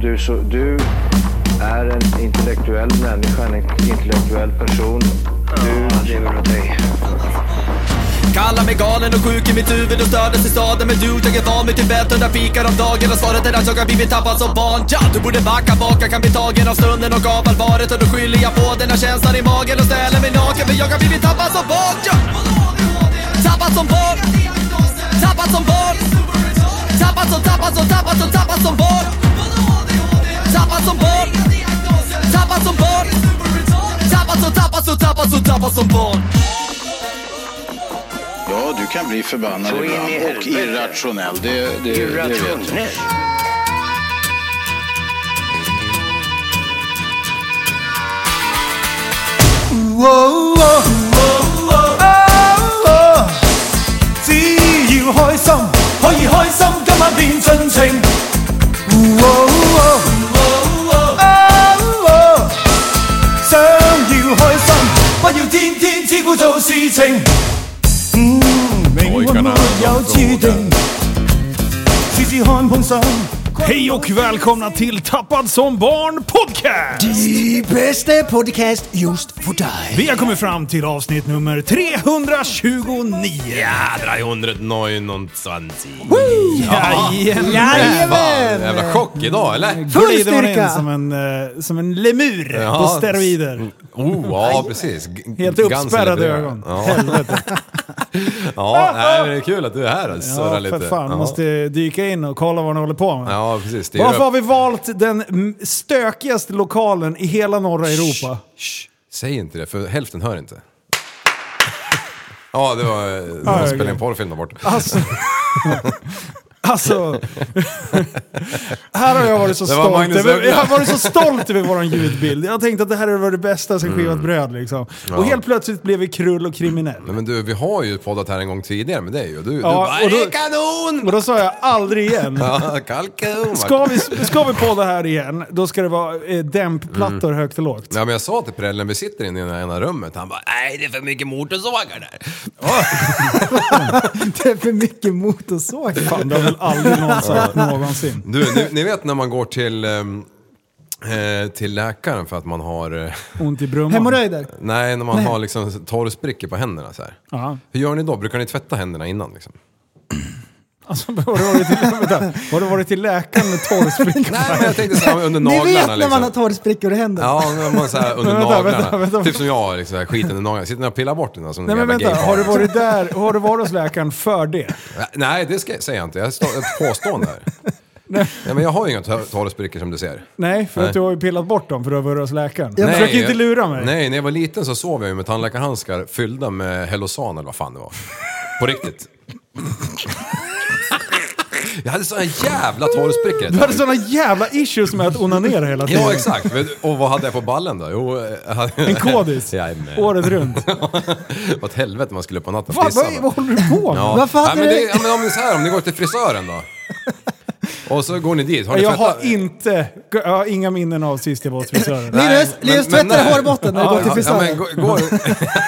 du, så, du är en intellektuell människa, en intellektuell person. Du lever av dig. Kallar mig galen och sjuk i mitt huvud och stördes i staden Men du, jag är van vid Tibet och där fikar om dagen Och svaret är att jag har blivit tappad som barn ja, Du borde backa bak, jag kan bli tagen av stunden och av allvaret Och då skyller jag på den här känslan i magen och ställer mig naken För jag har blivit tappad som barn ja. Tappad som barn Tappad som barn Tappad som, tappad som, tappad som, tappad som barn Tappad som barn Tappad som barn Tappad som, tappad som, tappad som, tappad som barn Ja, du kan bli förbannad Så in i ibland och helvete. irrationell. Det, det, det vet jag. Hej och välkomna till Tappad som barn podcast! Die bästa podcast just för dig. Vi har kommit fram till avsnitt nummer 329. Ja, 329. Jajamän! Fan, jävla chock idag Mm. eller? Full Glider man in styrka! som en, eh, som en lemur på Ja. steroider. Oh, ja precis. G- Helt Guns uppspärrade eller- ögon. Ja. ja, nej, men det är kul att du är här och surrar Ja, lite. för fan. ja. Måste dyka in och kolla vad ni håller på med. ja, precis. Det är Varför ju- har vi valt den mm, stökigaste lokalen i hela norra Europa? Shh, Säg inte det, för hälften hör inte. Ja, det var... De Ja, ah, okej. spelade en porrfilm där borta. Alltså... Alltså, här har jag varit så Det var stolt. Magnus Över, Uggla. jag har varit så stolt över våran ljudbild. Jag tänkte att det här var det bästa sen Mm. skivat bröd liksom. Och helt plötsligt blev vi krull och kriminell. Nej, men du, vi har ju poddat här en gång tidigare med dig och du, Ja, du bara, och då- "Det är kanon! Och då sa jag aldrig igen. Ja, kalkon! Ska vi, ska vi podda här igen, då ska det vara eh, dämpplattor Mm. högt och lågt. Ja, men jag sa till prällen, vi sitter inne i det här ena rummet, han bara nej det är för mycket motorsågar där. Det är för mycket motorsåg. Fan, det har väl aldrig någon sagt någonsin. Du, ni, ni vet när man går till, ehm, eh, till läkaren för att man har... Eh, Ont i brumman. Hemorrojder. nej, när man har liksom torrsprickor på händerna så här. Ja. Hur gör ni då? Brukar ni tvätta händerna innan liksom? Alltså, har, du varit till, vänta, har du varit till läkaren med torrspricka? Nej, men jag tänkte så här under Ni naglarna vet när man har liksom. torrsprickor i händerna. Ja, när man så här under Men vänta, naglarna. vänta, vänta. Typ som jag har, liksom, så här, skiten i naglarna. Sitter ni och pillar bort den? Alltså, Nej men vänta, har du varit där, har du varit hos läkaren för det? Nej, det ska, säger jag inte. Jag står ett påstående här. Nej, men jag har ju inga tor- torrsprickor som du ser. Nej, för Nej. att du har ju pillat bort dem för du har varit hos läkaren. Ja, Försök inte jag- lura mig. Nej, när jag var liten så sov jag ju med tandläkarhandskar fyllda med Hellosan eller vad fan det var. På riktigt. Jag hade såna jävla torrsprickor. Du hade sådana jävla issues med att onanera hela tiden. Ja, exakt. Och vad hade jag på ballen då? Jo, jag hade- En kodis. Jajamän. Året runt. Åt helvete man skulle upp på natten och Vad, pissa. vad, vad håller du på med? Ja. Varför hade Nej, men du- det, ja, men om, ni så här, om ni går till frisören då? Och så går ni dit. Har ni Jag tvättat- har inte, jag har inga minnen av sist jag var hos frisören. Nej, Linus, men- Linus men tvättar nej. hårbotten när du går till Ja, men frisören. gå- går...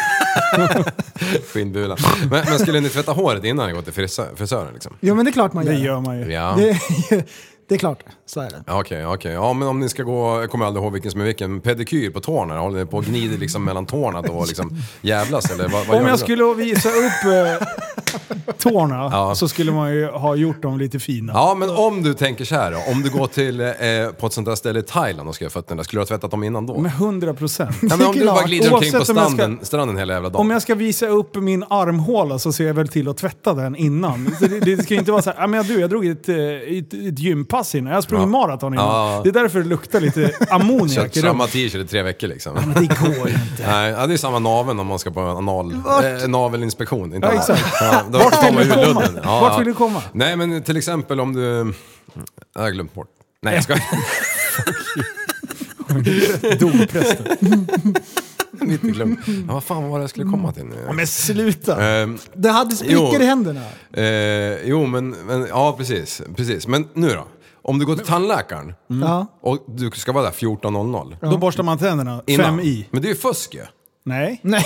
Skinnbulan. Men, men skulle ni tvätta håret innan ni går till frisö- frisören liksom? Jo men det är klart man gör. Det gör man ju. Ja. Det är- Det är klart, så är det. Ja, Okej, okej. Ja, men om ni ska gå, jag kommer aldrig ihåg vilken som är vilken, pedikyr på tårna, håller ni på och gnider liksom mellan tårna då och liksom jävlas eller vad, vad gör Om ni då? jag skulle visa upp eh, tårna Ja. så skulle man ju ha gjort dem lite fina. Ja, men om du tänker så här då, om du går till, eh, på ett sånt där ställe i Thailand och ska göra fötterna, skulle du ha tvättat dem innan då? Med 100 procent. Ja, men om du bara klart. glider omkring på Oavsett om jag ska- stranden, stranden hela jävla dagen. Om jag ska visa upp min armhåla så ser jag väl till att tvätta den innan. Så Det, det ska ju inte vara så här, "Ah, men jag, du, jag drog ett, eh, ett, ett gympass innan, jag har sprungit Ja. maraton innan. Ja. Det är därför det luktar lite Kört ammoniak i rummet. samma t-shirt i tre veckor liksom. Det går inte. Nej, ja, det är samma naveln om man ska på en anal, eh, navelinspektion. Inte Ja, anal. exakt. Ja, då Vart tar vill man du ur komma? ludden. Ja, Vart ja. vill du komma? Nej, men till exempel om du... Jag har glömt bort. Nej, jag ska... Domprösten. Mitt i glöm. Ja, vad fan var det jag skulle komma till nu? Men sluta! Ehm, Du hade sprickor Jo. i händerna. eh, jo, men, men... Ja, precis. Precis. Men nu då? Om du går till tandläkaren Ja. och du ska vara där 14.00. Då borstar man tänderna, Innan. fem i. Men det är ju fusk ju. Nej, Nej.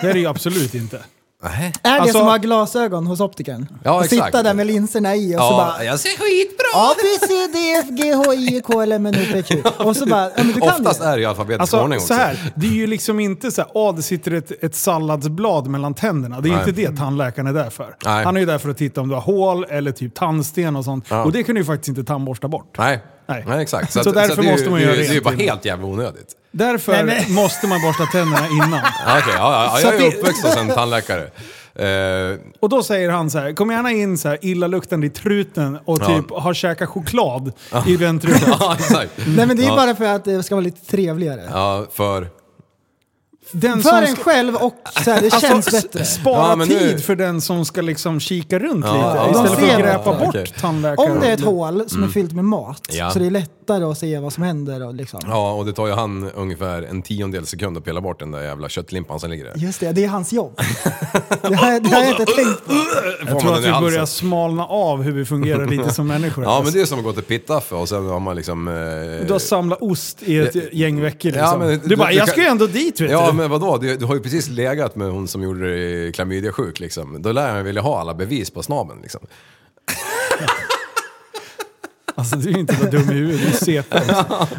det är det ju absolut inte. Nej. Är Alltså- det som att ha glasögon hos optikern? Ja, och exakt. sitta där med linserna i och så Ja, bara... jag ser skitbra A, B, C, D, F, G, H, I, K, L, M, N, O, P, Q. Och så bara, ja men du kan Oftast ju. är det ju alfabetisk Alltså ordning också. så här, det är ju liksom inte så här, åh det sitter ett, ett salladsblad mellan tänderna. Det är Nej. inte det tandläkaren är där för. Nej. Han är ju där för att titta om du har hål eller typ tandsten och sånt. Ja. Och det kan du ju faktiskt inte tandborsta bort. Nej. Nej. Nej. exakt. Så att- därför att det är ju- måste man det är göra ju- Det är ju rent bara innan. helt jävla onödigt. Därför Nej, men- måste man borsta tänderna innan. Ja, Okej, ja, ja, Så jag att är det- uppväxt hos en tandläkare. Eh, Och då säger han så här, kom gärna in så här illaluktande i truten och Ja. typ har käkat choklad i den truten. ja, exakt. Nej men det är ju Ja. bara för att det ska vara lite trevligare. Ja, för... Den För som en ska, själv och så här, det Alltså, känns bättre. Alltså, spara Ja, men nu- tid för den som ska liksom kika runt lite ja, istället för ja, att ja. gräpa bort Okej. tandläkaren. Om det är ett hål som är fyllt med mat Mm. Ja. så det är lättare att se vad som händer. Och liksom. Ja, och det tar ju han ungefär en tiondel sekund att pilla bort den där jävla köttlimpan som ligger där. Just det, det är hans jobb. Det har, det har jag inte tänkt på. Får Jag tror man att den i vi halsen. börjar smalna av hur vi fungerar lite som människor. Ja, men det är som att gå till Pittaffe och sen har man liksom... eh, Du har samlat ost i ett gäng veckor liksom. Ja, men du, du- bara, du jag kan- ska ju ändå dit vet Ja, du. men vadå? Du, du har ju precis legat med hon som gjorde det i klamydiasjuk liksom. Då lär jag mig vilja ha alla bevis på snabeln liksom. Alltså du är inte så dum i huvudet, du är CP.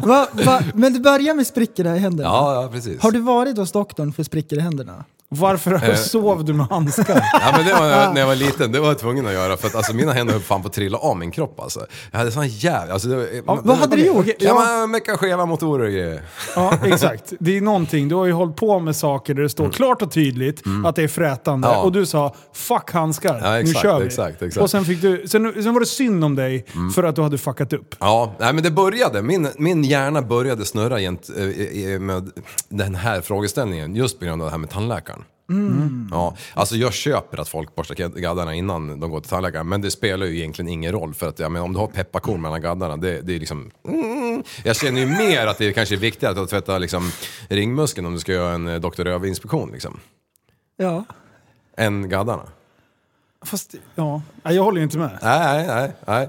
Va, va? Men du börjar med sprickorna i händerna. Ja, ja precis. Har du varit hos doktorn för sprickor i händerna? Varför Eh. sov du med handskar? Ja, men det var när jag, när jag var liten, det var jag tvungen att göra för att alltså, mina händer höll fan på att trilla av min kropp alltså. Jag hade sån jävla... Alltså, det var, vad hade du gjort? Ja, man meckar skeva motorer och grejer. Ja, exakt. Det är någonting, du har ju hållit på med saker där det står klart och tydligt att det är frätande. Mm. Ja. Och du sa “fuck handskar, Ja, exakt, nu kör vi”. exakt, exakt. Mm. Och sen, fick du, sen, sen var det synd om dig för att du hade fuckat upp. Ja, nej, men det började. Min, min hjärna började snurra gent, eh, eh, med den här frågeställningen just på grund av det här med tandläkaren. Ja, alltså jag köper att folk borstar gad- gaddarna innan de går till tandläkaren, men det spelar ju egentligen ingen roll för att ja, men om du har pepparkorn mellan gaddarna, det, det är liksom... Mm. Jag känner ju mer att det kanske är viktigare att tvätta liksom, ringmuskeln om du ska göra en eh, Dr. Röv-inspektion liksom, Ja. än gaddarna. Fast, ja. Nej, jag håller ju inte med. Nej, nej, nej.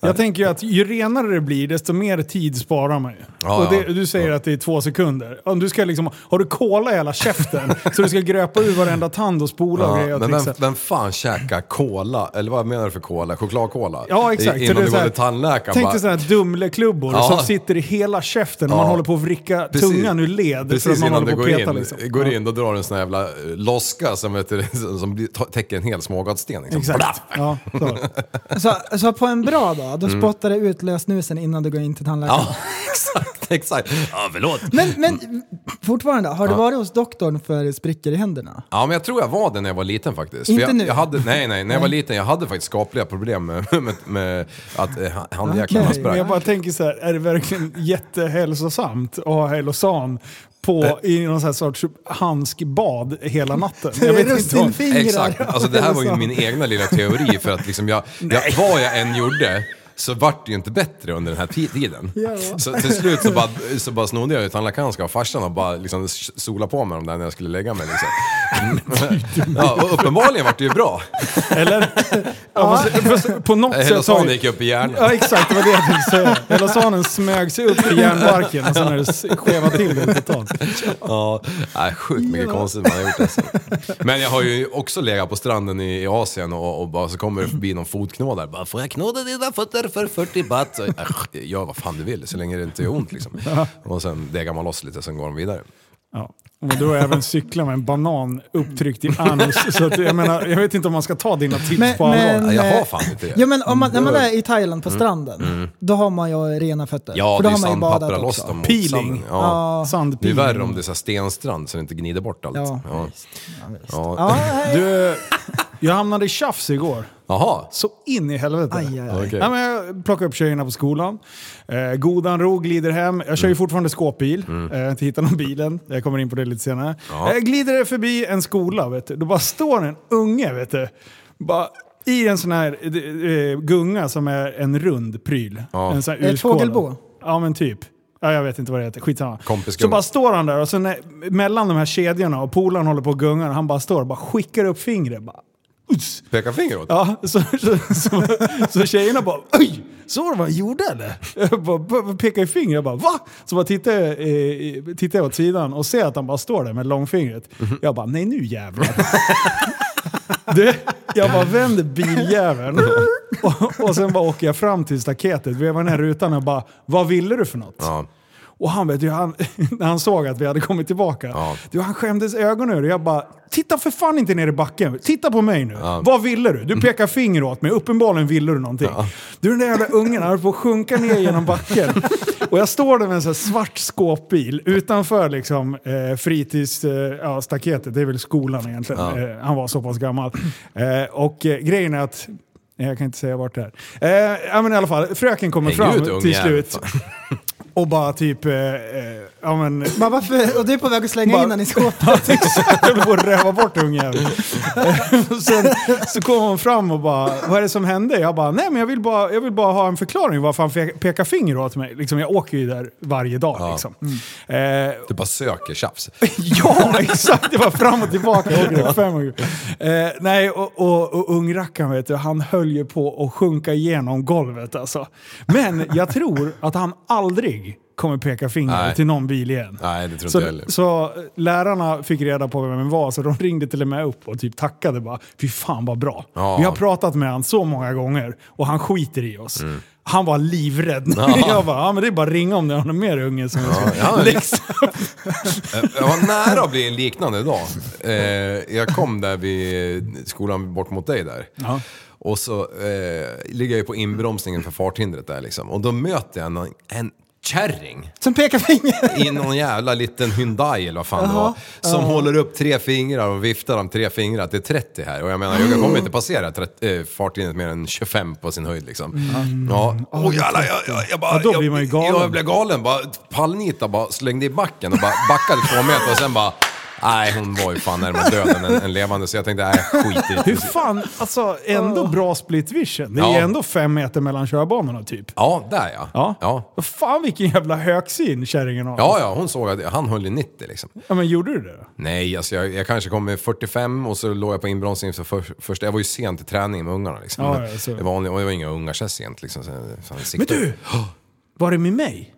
Jag tänker ju att ju renare det blir, desto mer tid sparar man ju. Ja, och det, ja. du säger att det är två sekunder. Om du ska liksom, har du kola i hela käften så du ska gröpa ur varenda tand och spola och grejer Ja, och men vem, trixa. vem fan käkar cola? Eller vad menar du för cola? Chokladcola? Ja exakt. I- Så det Innan är du så går här- till tandläkaren Tänk bara- dig sådana här Dumleklubbor Ja. som sitter i hela käften och Ja. man håller på att vricka Precis. tungan ur led för att Precis man innan håller du på att går peta in, liksom. går Ja. in, då drar du en sån här jävla eh, loska som, vet du, som blir- ta- täcker en hel smågottsten. Liksom. Exakt. Blaff! Ja, så. Så, så på en bra dag, då spottar du ut lösnusen innan du går in till tandläkaren. Mm. Ja, exakt, exakt. Ja, förlåt. Men, men fortfarande, har du varit hos doktorn för sprickor i händerna? Ja, men jag tror jag var det när jag var liten faktiskt. Inte jag, nu. Jag hade, nej, nej, när jag var liten. Jag hade faktiskt skapliga problem med, med, med att eh, ha- handjäklarna Okej. Men sprang. jag bara tänker så här, är det verkligen jättehälsosamt att ha Helosan Eh. på, i någon sån här sorts handskbad hela natten? Jag vet inte om... Russinfingrar. Exakt, alltså det här var ju min egna lilla teori för att liksom jag, jag, vad jag än gjorde så vart det ju inte bättre under den här ti- tiden. Ja. Så till slut så bara, så bara snodde jag ju tandläkarhanskar av farsan och bara liksom s- sola på mig dem där när jag skulle lägga mig. Liksom. Mm. Ja, och uppenbarligen vart det ju bra. Eller? Ja, fast, fast på något sätt har Helosan ju- Eh, gick upp i hjärnan. Ja exakt, det var det jag tänkte säga. Helosanen smög sig upp i järnbarken och sen har det s- skevat till det totalt. Ja, nej, sjukt mycket konstigt man har gjort alltså. Men jag har ju också legat på stranden i i Asien och, och bara, så kommer det förbi någon fotknådare. Bara, får jag knåda dina fötter för 40 baht? Så, "Ach, gör vad fan du vill, så länge det inte gör ont liksom. Och sen degar man loss lite, sen går de vidare. Ja. Men du har även cyklat med en banan upptryckt i anus. Så att, jag, menar, jag vet inte om man ska ta dina tips Men- på allvar. men- eh, Ja, jag har fan inte det. Ja men om man, när man Mm. är i Thailand på stranden, då har man ju rena fötter. Ja, För det då är ju har man ju sandpappra badat loss också. dem mot Peeling. sanden. Ja. Det är Sandpil. värre om det är så här stenstrand så det inte gnider bort allt. Ja, Ja. Ja. Ja, nej. Du, jag hamnade i tjafs igår. Jaha, Så in i helvete. Aj, aj, aj. Okej. Ja, men jag plockade upp tjejerna på skolan. Eh, godan ro, glider hem. Jag kör Mm. ju fortfarande skåpbil. Eh, jag har inte hittat någon bilen. Jag kommer in på det lite senare. Ja. Eh, glider förbi en skola, vet du. Då bara står en unge, vet du. Bara i en sån här eh, eh, gunga som är en rund pryl. Ja. En sån här Ett urskåla. fågelbo? Ja, men typ. Ja, jag vet inte vad det heter, skitsamma. Kompisgunga. så bara står han där och sen när- mellan de här kedjorna och polaren håller på och gungar och han bara står och bara skickar upp fingret. Bara, uts. peka finger åt Ja, så, så, så, så tjejerna bara oj! Såg du vad han gjorde eller? Jag bara, bara pekar i fingret, jag bara va? Så bara tittar, jag, eh, tittar jag åt sidan och ser att han bara står där med långfingret. Jag bara nej nu jävlar. Du, jag bara vänder biljäveln och, och sen bara åker jag fram till staketet, vevar ner rutan och bara “Vad ville du för något?” Ja. Och han vet ju, han, när han såg att vi hade kommit tillbaka, Ja. du, han skämdes ögonen ur. Jag bara, titta för fan inte ner i backen. Titta på mig nu. Vad ville du? Mm. Du pekar finger åt mig. Uppenbarligen ville du någonting. Du den där jävla ungen, han höll på att sjunka ner genom backen. Och jag står där med en sån här svart skåpbil utanför liksom, eh, fritidsstaketet. Eh, ja, staketet. det är väl skolan egentligen. Eh, han var så pass gammal. Eh, och eh, grejen är att jag kan inte säga vart det är. Eh, ja, men i alla fall, fröken kommer Häng ut, fram ungjävel. till slut. Och bara typ... Eh, eh, ja men... Bara, varför? Och du är på väg att slänga Bara- in den i skåpet. Jag höll på att röva bort ungjäveln. Eh, och Sen så kom hon fram och bara, vad är det som hände? Jag bara, nej men jag vill bara, jag vill bara ha en förklaring varför han fe- pekar finger åt mig. Liksom, jag åker ju där varje dag liksom. Eh, Du bara söker tjafs. Ja, exakt! Det var fram och tillbaka. Jag åker upp fem gånger. Eh, nej, och, och, och ungrackaren vet du, han höll ju på att sjunka igenom golvet alltså. Men jag tror att han aldrig kommer peka finger Nej. till någon bil igen. Nej, det tror så, inte jag heller. så eh, lärarna fick reda på vem det var, så de ringde till och med upp och typ tackade bara. Fy fan vad bra. Ja. Vi har pratat med han så många gånger och han skiter i oss. Mm. Han var livrädd. Jag bara, ja men det är bara att ringa om det är någon mer unge som Ja, ja, Eh, Jag var nära att bli en liknande idag. Eh, jag kom där vid skolan bort mot dig där. Ja. Och så eh, ligger jag ju på inbromsningen för farthindret där liksom. Och då möter jag någon, en kärring Som pekar finger. i någon jävla liten Hyundai eller vad fan det var. Som håller upp tre fingrar och viftar om tre fingrar att det är 30 här. Och jag menar, jag kommer inte passera trett- eh, farthindret mer än 25 på sin höjd liksom. Mm. Ja. Och jävlar, jag, jag, jag bara... Ja, då blir man ju galen. Jag, jag blev galen. Bara, pallnita bara slängde i backen och bara backade två meter och sen bara... Nej, hon var ju fan närmare döden än, än levande så jag tänkte, nej skit i Hur det. fan, alltså ändå bra split vision. Det är Ja. ändå fem meter mellan körbanorna typ. Ja, där ja. Ja. ja. Vad Fan vilken jävla höksyn kärringen har. Ja, ja, hon såg att han höll i 90 liksom. Ja, men gjorde du det då? Nej, alltså jag, jag kanske kom med 45 och så låg jag på inbromsningen för, för första... Jag var ju sen till träningen med ungarna liksom. Ja, Men ja, så. det, var, vanliga- och det var inga ungar så sent liksom. Så, jag- fan, Men siktar- du! Var det med mig?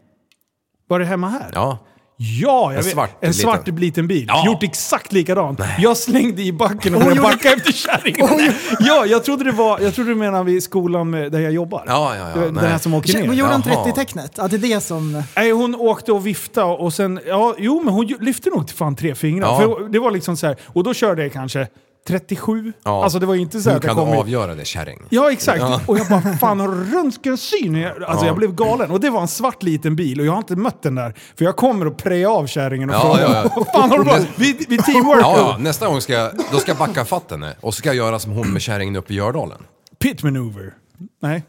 Var det hemma här? Ja. Ja, jag En vet. svart en liten- svart liten bil. Ja. Gjort exakt likadant. Jag slängde i backen och började gjorde- backa efter kärringen. ja, jag trodde det var, jag trodde du menade vid skolan med, där jag jobbar. Ja, ja, ja, Du vet, Den nej. här som åker ner. Hon gjorde hon Jaha. 30-tecknet? Ja, det är det som... Nej, hon åkte och viftade och sen... Ja, jo, men hon ju- lyfte nog till fan tre fingrar. Ja. För det var liksom så här, och då körde jag kanske 37. ja. Alltså det var ju inte så här Hur att jag kan du kom i- avgöra det kärring? Ja, exakt. Och jag bara, fan har du röntgensyn? Jag- Alltså Ja. jag blev galen. Och det var en svart liten bil och jag har inte mött den där. För jag kommer och preja av kärringen och Ja, frågar, ja, ja. vad fan har du på? Vi, vi teamwork. Ja, ja, nästa gång ska jag, då ska jag backa fatt henne och så ska jag göra som hon med kärringen uppe i Gördalen. Pit maneuver. Nej.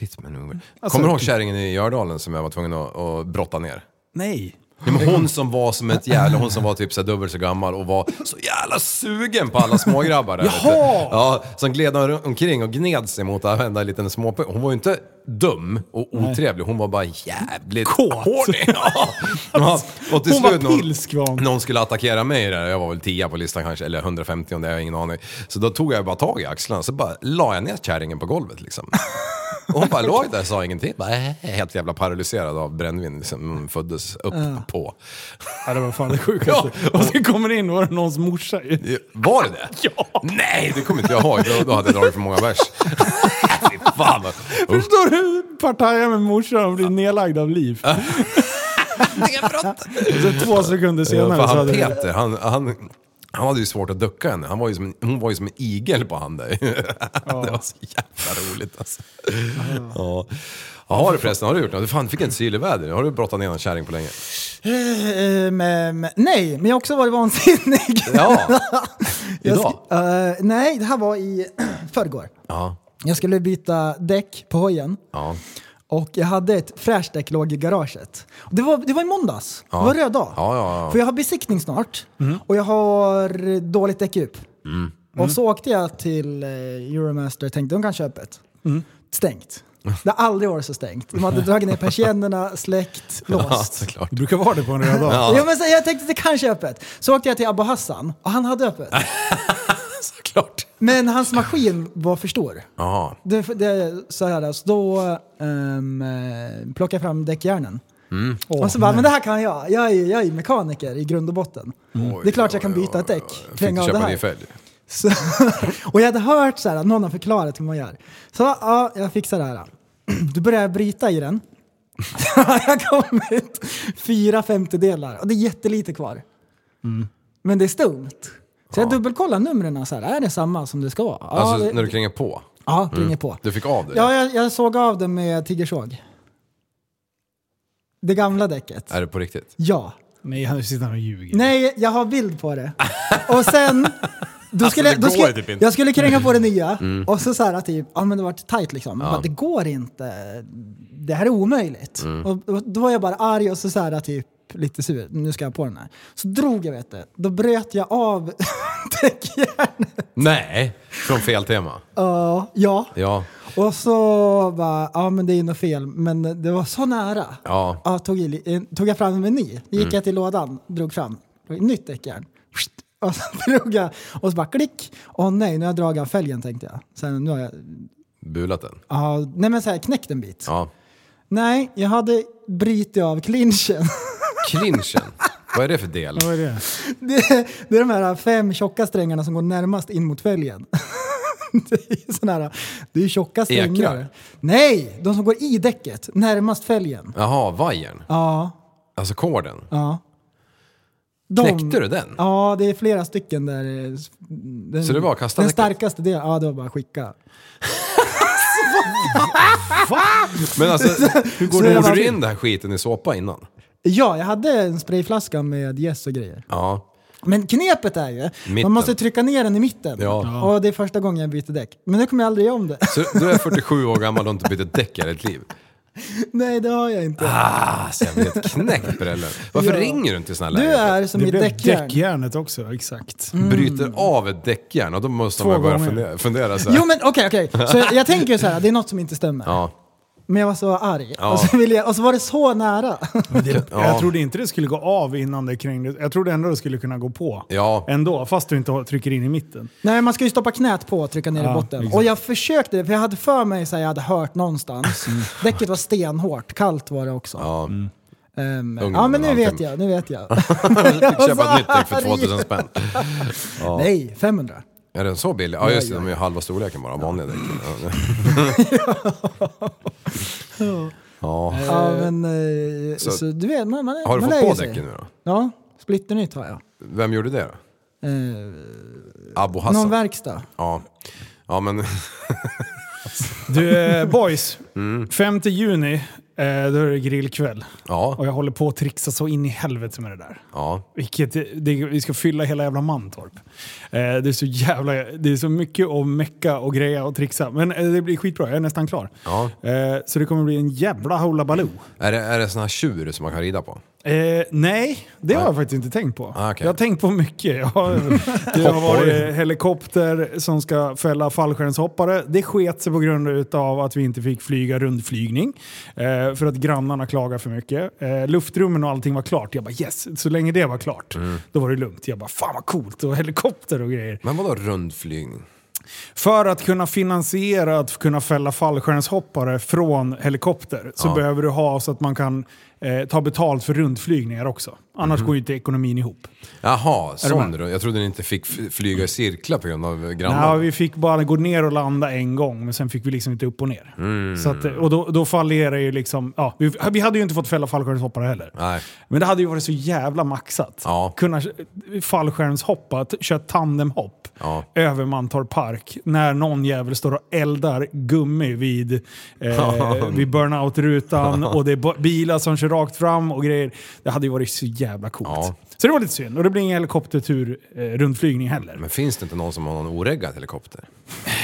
Pit maneuver. Alltså- Kommer du ihåg kärringen i Gördalen som jag var tvungen att, att brotta ner? Nej. Ja, men hon som var som ett jävla, hon som var typ så här dubbelt så gammal och var så jävla sugen på alla smågrabbar där. vet du. Jaha! Ja, som gled om- omkring och gned sig mot varenda liten små... Hon var ju inte dum och otrevlig, hon var bara jävligt Kåt. horny. Ja. Ja. Och till Hon slut var när pilsk, var hon. Någon skulle attackera mig där, jag var väl 10 på listan kanske, eller 150 om det, jag har ingen aning. Så då tog jag bara tag i axlarna, så bara la jag ner kärringen på golvet liksom. Och hon bara låg där och sa ingenting. Bara, äh, helt jävla paralyserad av brännvin. Liksom, hon föddes upp på. Ja, det var fan det sjukaste. Och sen kommer det in och var det någons morsa. Var det det? Ja. Nej, det kommer inte jag ihåg. Då, då hade jag dragit för många bärs. Fy fan vad... Usch. Förstår du? Partaja med morsan och blir nedlagd av liv. Så två sekunder senare För så han hade det... Peter, han, han, han hade ju svårt att ducka henne. Han var ju som en, hon var ju som en igel på han där. Det var så jävla roligt alltså. Ja. Ja, har du förresten, har du gjort något? Du fan, fick inte syleväder. Har du brottat ner någon kärring på länge? Eh, men- men- nej, men jag har också varit vansinnig. Ja, Jag sk- idag. eh, nej, det här var i förrgår. Ja, Jag skulle byta däck på hojen. ja. Och jag hade ett fräscht däck låg i garaget. Det var, det var i måndags. Det var röd dag. Ja, ja, Mm. ja. För jag har besiktning snart. Och jag har dåligt däckdjup. Mm. Och så åkte jag till eh, Euromaster och tänkte de kan köpa ett. Mm. Stängt. Det har aldrig varit så stängt. De hade dragit ner persiennerna, släckt, ja låst. såklart. Det brukar vara det på en röd dag. Ja. men så, jag tänkte det kanske är öppet. Så åkte jag till Abba Hassan och han hade öppet. Såklart. Men hans maskin var för stor. Ja, Det, det, så här, så då um, plockade jag fram däckjärnen. Mm. och så bara, men det här kan jag. Mm. Jag är, jag är mekaniker i grund och botten. det är klart jag kan byta ett däck. fick Klänga du av det köpa ny här. fälg? Så, och jag hade hört så här, att någon har förklarat hur man gör. Så ja, jag fixar det här. Då börjar jag bryta i den. Så har jag kommit fyra femtedelar och det är jättelite kvar. Men det är stumt. Så jag dubbelkollar numren. Så här, är det samma som det ska vara? Ja, Alltså det, när du kränger på. ja det ringer på. Du fick av dig. Ja, jag, jag såg av den med tigersåg. Det gamla däcket. Är det på riktigt? Ja. Nej, han sitter här och ljuger. Nej, jag har bild på det. Och sen... Då skulle, det då går skulle, ju typ inte. Mm. jag skulle kränga på det nya och så så här typ, ja men det vart tight liksom. Jag Bara, det går inte, det här är omöjligt. Mm. Och, och då var jag bara arg och så så här typ lite sur, nu ska jag på den här. Så drog jag vet du, då bröt jag av däckjärnet. Nej! Från fel tema. Ja, ja. Ja. Och så bara, ja men det är nog fel, men det var så nära. Ja. Mm. tog, i, li- eh, tog jag fram en meny, gick jag till lådan, drog fram, drog nytt däckjärn. Pst! Och så drog jag, och så bara klick. Åh nej, nu har jag dragit av fälgen tänkte jag. Sen, nu har jag Bulat den. ja, nej men så här, knäckt en bit. Ja. Nej, jag hade brutit av clinchen. Clinchen. Vad är det för del? Vad är det? Det, det är de här fem tjocka strängarna som går närmast in mot fälgen. Det är ju sån här, det är ju tjocka strängar. Ekrar? Nej, de som går i däcket, närmast fälgen. Jaha, vajern. Ja, Alltså korden. ja. De- Knäckte du den? Ja, det är flera stycken där. eh, s- Den, Så det var att kasta Den däcket? starkaste delen, ja det var bara att skicka. Men alltså, hur går så det? jag Gjorde bara- du in den här skiten i såpa innan? Ja, jag hade en sprayflaska med gäss och grejer. Ja. Men knepet är ju, Mitten. man måste trycka ner den i mitten. Ja. Och det är första gången jag byter däck. Men nu kommer jag aldrig göra om det. Så du är 47 år gammal och har inte bytt ett däck i hela ditt liv? Nej, det har jag inte. Alltså jag blir helt knäckt på brällen. Varför Ja. ringer du inte i såna här du lägen? är Mm. som Det mitt blev däckjärn. däckjärnet också, exakt. Bryter av ett däckjärn och då måste man börja gånger. fundera, fundera så här. Jo men okej, okej. Så jag, jag tänker ju så här, det är något som inte stämmer. Alltså. Ja. Men jag var så arg. Ja. Och, så ville jag, och så var det så nära. Jag trodde inte det skulle gå av innan det krängdes. Jag trodde ändå det skulle kunna gå på. Ja. Ändå, fast du inte har- trycker in i mitten. Nej, man ska ju stoppa knät på och trycka ner i Ja, botten. exakt. Och jag försökte det, för jag hade för mig så här, jag hade hört någonstans. Däcket var stenhårt, kallt var det också. Mm. Ja. Ehm, Ugnen ja men nu och vet allting. jag, nu vet jag. Du Alltså, fick köpa ett nytt däck för Arg. 2000 spänn. Nej, 500. Är den så billig? Ja just det, de är ju halva storleken bara, vanliga däck. Ja. ja. Ja men, eh, så- så, du vet, man, man, Har du man fått lägger på sig. däcken nu då? Ja, splitternytt har jag. Vem gjorde det då? Eh, Abu någon Hassan? verkstad. Ja. Ja men, Du eh, boys, Mm. 5 juni, eh, då är det grillkväll. ja. Och jag håller på att trixa så in i helvete med det där. Ja. Vilket, det, vi ska fylla hela jävla Mantorp. Eh, det, är så jävla, det är så mycket att mecka och greja och trixa. Men eh, det blir skitbra, jag är nästan klar. Ja. Eh, så det kommer bli en jävla hullabaloo. Är det, är det sån här tjur som man kan rida på? Eh, nej, det har jag faktiskt inte tänkt på. Ah, okej. Jag har tänkt på mycket. Jag har, det har varit eh, helikopter som ska fälla fallskärmshoppare. Det sket sig på grund av att vi inte fick flyga rundflygning. Eh, för att grannarna klagar för mycket. Eh, luftrummen och allting var klart. Jag bara yes, så länge det var klart. Mm. Då var det lugnt. Jag bara fan vad coolt och helikopter och grejer. Men vadå rundflygning? För att kunna finansiera att kunna fälla fallskärmshoppare från helikopter så behöver du ha så att man kan eh, ta betalt för rundflygningar också. Annars går ju inte ekonomin ihop. Jaha, sån med? rund. Jag trodde ni inte fick f- flyga i cirklar på grund av grannarna. Ja, vi fick bara gå ner och landa en gång, men sen fick vi liksom inte upp och ner. Så att, och då, då fallerar ju liksom... Ja, vi, vi hade ju inte fått fälla fallskärmshoppare heller. Nej. Men det hade ju varit så jävla maxat. Ja. Kunna fallskärmshoppa, t- köra tandemhopp Ja. över Mantorp Park när någon jävel står och eldar gummi vid, eh, vid burnout-rutan och det är bo- bilar som kör rakt fram och grejer. Det hade ju varit så jävla coolt. Ja. Så det var lite synd. Och det blir ingen helikoptertur eh, rundflygning heller. Men finns det inte någon som har någon oreggad helikopter?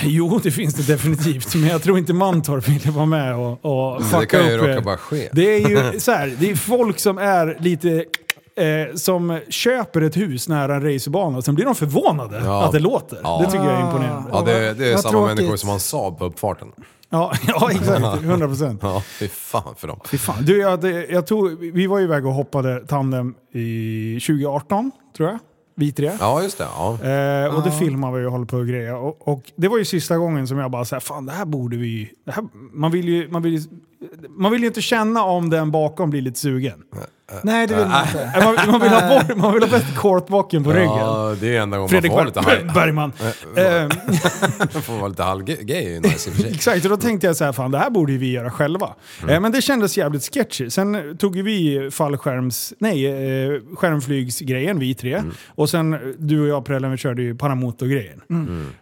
Jo, det finns det definitivt. Men jag tror inte Mantorp ville vara med och, och fucka det kan ju upp råka eh, bara ske. Det är ju så här, det är folk som är lite... Eh, som köper ett hus nära en racerbana och sen blir de förvånade Ja. att det låter. Ja. Det tycker jag är imponerande. Ja, det, det är Vad samma tråkigt. människor som har en Saab på uppfarten. Ja, ja exakt. 100 procent. Ja, fy fan för dem. Fy fan. Du, jag, det- jag tog, vi var ju iväg och hoppade tandem i 2018, tror jag. Vi tre. Ja, just det. Ja. Eh, och det filmar vi och håller på och grejer. Och, och det var ju sista gången som jag bara såhär, fan det här borde vi... Det här, man, vill ju, man, vill ju, man vill ju inte känna om den bakom blir lite sugen. Eh, Nej, det vill man inte. Nej, Man, man vill ha bort, man vill ha bäst kortbocken på ryggen. Ja, det är enda gången Fredrik man får vara Ber- lite, halv, Bergman. Eh, får vara lite halvgay. Nice i och för sig. Exakt, och då tänkte jag så här, fan det här borde ju vi göra själva. Eh, men det kändes jävligt sketchy. Sen tog ju vi fallskärms... Nej, eh, skärmflygsgrejen, vi tre. Och sen du och jag Prellen, vi körde ju paramotorgrejen.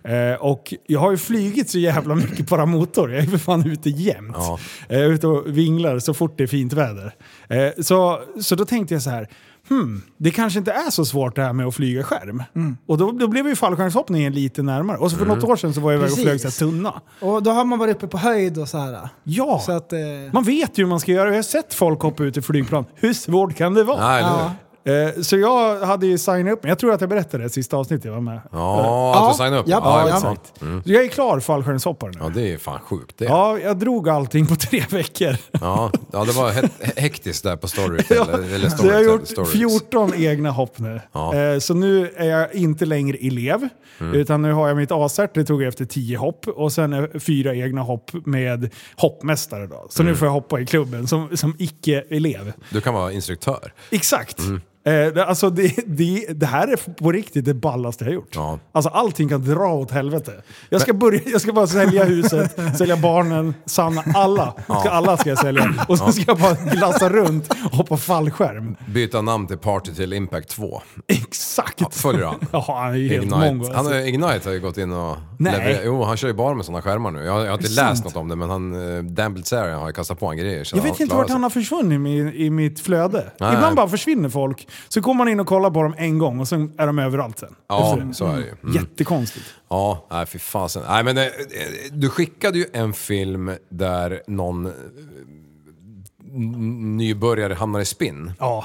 Eh, och jag har ju flygit så jävla mycket paramotor. Jag är för fan ute jämt. Ja. Eh, ute och vinglar så fort det är fint väder. Eh, så, så då tänkte jag så här, hmm, det kanske inte är så svårt det här med att flyga skärm. Och då, då blev ju fallskärmshoppningen lite närmare. Och så för något år sedan så var jag iväg och Precis. flög så här tunna. Och då har man varit uppe på höjd och så här. Ja! Så att, eh, Man vet ju hur man ska göra. Jag har sett folk hoppa ut i flygplan. Hur svårt kan det vara? Nej, eller hur? ja. Eh, så jag hade ju signat upp mig. Jag tror att jag berättade det i sista avsnittet jag var med. Ja, att du signar upp. Ja, Ja, ja. exakt. Så jag är klar fallskärmshoppare nu. Ja, det är fan sjukt det. Ja, jag drog allting på tre veckor. Ja, ja det var he- hektiskt där på story. eller, eller Så story jag har gjort stories. 14 egna hopp nu. Ja. Mm. Eh, Så nu är jag inte längre elev, utan nu har jag mitt A-cert. Det tog jag efter 10 hopp och sen eh, fyra egna hopp med hoppmästare. Då. Så Mm. nu får jag hoppa i klubben som, som icke-elev. Du kan vara instruktör. Exakt. Mm. Eh, det- alltså det, det, det här är på riktigt det ballaste jag har gjort. Ja. Alltså allting kan dra åt helvete. Jag ska, börja, jag ska bara sälja huset, sälja barnen, Sanna, alla. Ska, alla ska jag sälja. Och så ska jag bara glassa runt och hoppa fallskärm. Byta namn till Party till Impact 2. Exakt! Ja, följer han? Ja, han är ju helt mongo. Ignite. Han, Alltså. har- Ignite har ju gått in och... Nej. levererat- Jo, han kör ju bara med sådana skärmar nu. Jag, har- jag har inte Det är läst sant. något om det, men han... eh, Dan Bilzerian har ju kastat på han grejer. så Jag han vet inte klarar vart sig. han har försvunnit i, i mitt flöde. Nej. Ibland bara försvinner folk, så kommer man in och kollar på dem en gång och sen är de överallt sen. Ja, Efter det. så är det ju. Mm. Jättekonstigt. Ja, nej fy fasen. Nej men eh, eh, du skickade ju en film där någon eh, n- nybörjare hamnar i spinn. Ja.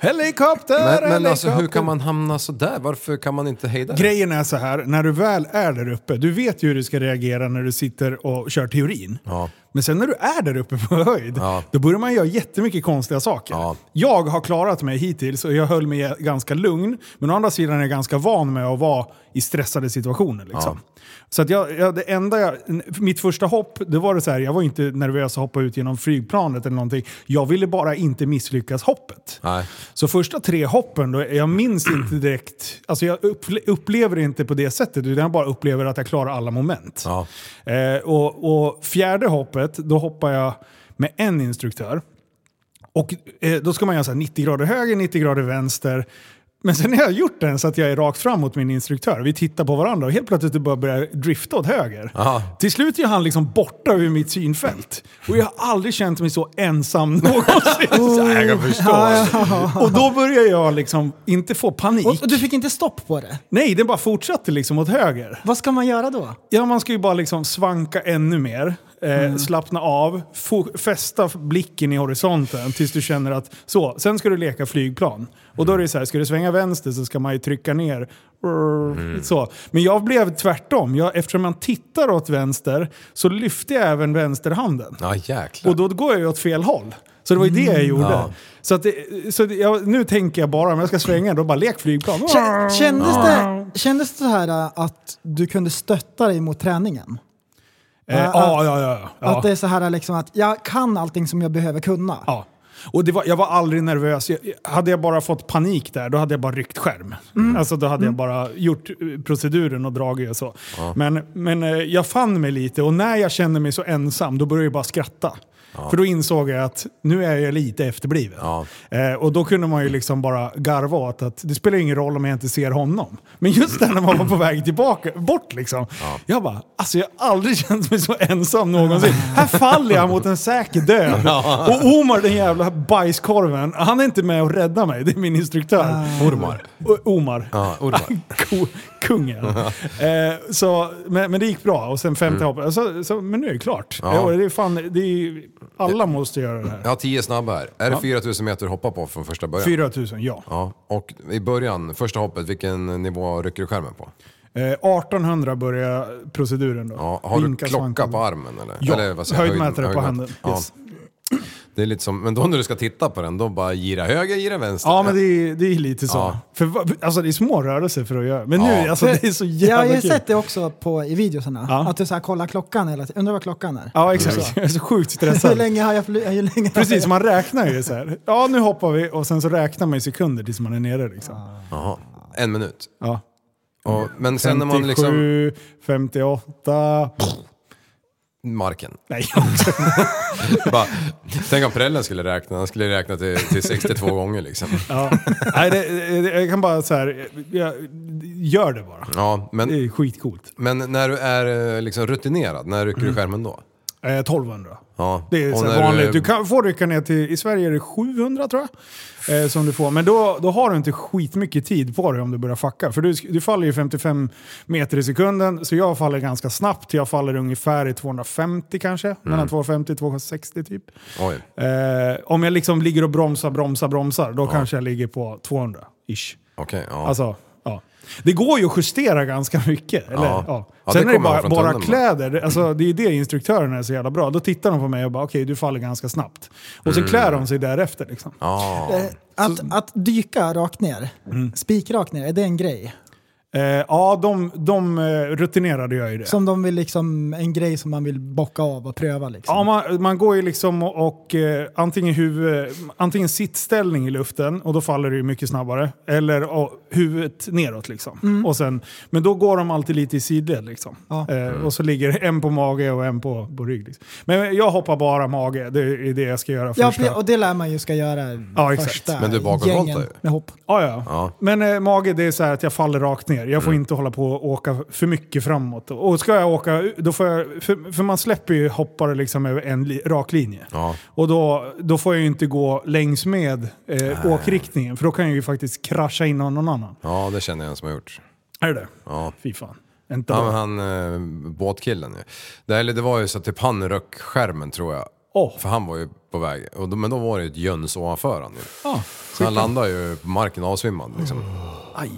Helikopter! Men, men alltså hur helikopter. kan man hamna så där? Varför kan man inte hejda det? Grejen är så här, när du väl är där uppe, du vet ju hur du ska reagera när du sitter och kör teorin. Ja. Men sen när du är där uppe på höjd, Ja. då börjar man göra jättemycket konstiga saker. Ja. Jag har klarat mig hittills och jag höll mig ganska lugn, men å andra sidan är jag ganska van med att vara i stressade situationer. Liksom. Så att jag, jag, det enda jag, mitt första hopp, det var det så här, jag var inte nervös att hoppa ut genom flygplanet eller någonting. Jag ville bara inte misslyckas hoppet. Nej. Så första tre hoppen, då, jag minns inte direkt, alltså jag upple- upplever det inte på det sättet, utan jag bara upplever att jag klarar alla moment. Ja. Eh, och, och fjärde hoppet, då hoppar jag med en instruktör. Och eh, då ska man göra så här 90 grader höger, 90 grader vänster. Men sen har jag gjort den så att jag är rakt fram mot min instruktör. Vi tittar på varandra och helt plötsligt bara börjar jag drifta åt höger. Aha. Till slut är han liksom borta ur mitt synfält. Och jag har aldrig känt mig så ensam någonsin. Jag kan förstå. alltså. Och då börjar jag liksom inte få panik. Och, och du fick inte stopp på det. Nej, den bara fortsatte liksom åt höger. Vad ska man göra då? Ja, man ska ju bara liksom svanka ännu mer, eh, slappna av, fo- fästa blicken i horisonten tills du känner att så, sen ska du leka flygplan. Och då är det så här, ska du svänga vänster så ska man ju trycka ner. Så. Men jag blev tvärtom, jag, eftersom man tittar åt vänster så lyfte jag även vänsterhanden. Ja jäklar. Och då går jag ju åt fel håll. Så det var ju det jag gjorde. Ja. Så, att det, så det, jag, nu tänker jag bara, om jag ska svänga, då bara lek flygplan. Ah. Kä- Kändes Ah. det, kändes det så här äh, att du kunde stötta dig mot träningen? Eh, ja, ja, ja. ja. Att det är så här äh, liksom att jag kan allting som jag behöver kunna? Ja. Och det var, jag var aldrig nervös. Jag, hade jag bara fått panik där, då hade jag bara ryckt skärm. Alltså då hade jag bara gjort eh, proceduren och dragit och så. Men, men eh, jag fann mig lite och när jag kände mig så ensam, då började jag bara skratta. För då insåg jag att nu är jag lite efterbliven. Ja. Eh, och då kunde man ju liksom bara garva åt att det spelar ingen roll om jag inte ser honom. Men just där när man var på väg tillbaka, bort liksom. Jag bara, alltså jag har aldrig känt mig så ensam någonsin. Här faller jag mot en säker död. Och Omar den jävla bajskorven, han är inte med och räddar mig. Det är min instruktör. Ah. Ormar. O- Omar. Ja, Ormar. Ko- Kungen. eh, så, men, men det gick bra. Och sen femte hoppet. Så, så, men nu är det klart. Mm. Ja. Ja. och det är fan, det är, alla måste göra det här. Jag har tio snabba här. Är det 4000 meter att hoppa på från första början? 4000, ja. Ja, och i början, första hoppet, vilken nivå rycker du skärmen på? Eh, 1800 börjar proceduren då. Ja, har du Vinka klocka svanken. på armen eller? Ja, eller vad säger jag? höjdmätare på höjdmät- handen. Ja. Yes. Det är lite som, men då när du ska titta på den, då bara gira höger, gira vänster. Ja, men det är, det är lite så. Ja. För, va- alltså, det är små rörelser för att göra. Men nu, Ja. alltså, det är så Jag har jävla ju kul. sett det också på, i videosarna. Ja. Att du så här kollar klockan hela tiden. Undrar vad klockan är. Ja, exakt. Jag är så sjukt Hur stressad. länge har jag fly- hur länge har Precis, jag... man räknar ju så här. Ja, nu hoppar vi och sen så räknar man i sekunder tills man är nere. Liksom. Jaha, en minut. Ja. Och, men sen när man liksom... 57, 58... Marken. Nej, Bara, tänk om prällen skulle räkna, han skulle räkna till, till 62 gånger liksom. ja. Nej det, det, jag kan bara så här, jag, gör det bara. Ja, Det men, är skitcoolt. men när du är eh, liksom rutinerad, när rycker du skärmen då? Eh, 1200. Ja. Mm. Det är Och så när här vanligt. Du kan, får rycka ner till, i Sverige är det 700 tror jag. Eh, som du får. Men då, då har du inte skitmycket tid på dig om du börjar fucka. För du, du faller ju 55 meter i sekunden, så jag faller ganska snabbt. Jag faller ungefär i 250 kanske. Mm. Mellan 250 och 260 typ. Oj. Eh, om jag liksom ligger och bromsar, bromsar, bromsar, då kanske jag ligger på 200-ish. Okej, ja. Alltså, ja. Det går ju att justera ganska mycket. Eller? Ja. Ja. Ja, Sen det är det kommer bara, från bara tunneln, va? kläder. Alltså, det är ju det instruktörerna är så jävla bra. Då tittar de på mig och bara okej, du faller ganska snabbt. Och så klär de sig därefter. Liksom. Mm. ja. Eh, Att, att dyka rakt ner, Mm. spikrakt ner, är det en grej? Eh, ja, de, de eh, rutinerade gör ju det. Som de vill liksom, en grej som man vill bocka av och pröva liksom. Ja, man, man går ju liksom och, och eh, antingen, huvud, antingen sittställning i luften och då faller det ju mycket snabbare. Eller och, huvudet neråt liksom. Och sen, men då går de alltid lite i sidled liksom. Mm. Ja. Eh, och så ligger det en på mage och en på, på rygg. Liksom. Men jag hoppar bara mage, det är det jag ska göra Ja, första. och det lär man ju ska göra Ja, exakt. första Men du bakåtvoltar gängen ju. med hopp. Ja, ja. Ja. Mm. Men eh, mage, det är så här att jag faller rakt ner. Jag får inte hålla på och åka för mycket framåt. Och ska jag åka, då får jag, för, för man släpper ju hoppare liksom över en li, rak linje. Ja. Och då, då får jag ju inte gå längs med eh, åkriktningen, för då kan jag ju faktiskt krascha in någon annan. ja, det känner jag en som har gjort. Är det det? Ja. Fy fan. Inte Ja, bra. men han eh, båtkillen ju. Det, eller det var ju så att typ han röck skärmen tror jag. Åh. För han var ju på väg. Och då, men då var det ju ett jöns ovanför han ju. så han landade ju på marken avsvimmad liksom.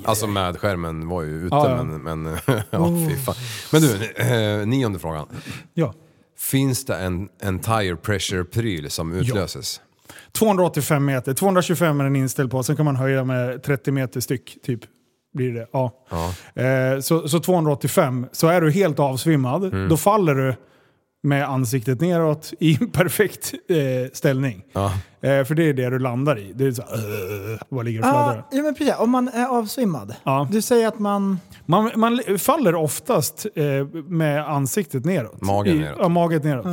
alltså med skärmen var ju ute Ja, ja. men... men ja, fy fan. Men du, eh, nionde frågan. Ja. Finns det en, en tire pressure-pryl som utlöses? 285 meter, 225 är den inställd på, sen kan man höja med 30 meter styck typ. Blir det. Ja. Eh, så, så 285, så är du helt avsvimmad, då faller du med ansiktet neråt i en perfekt eh, ställning. Eh, för det är det du landar i. Det är så här, "Åh", bara ligger och Ja, fladdrar. ja, men precis. Om man är avsvimmad. Ja. Ah, Du säger att man... Man, man li- faller oftast eh, med ansiktet neråt. Magen I, neråt. Mm. Ja, magen neråt.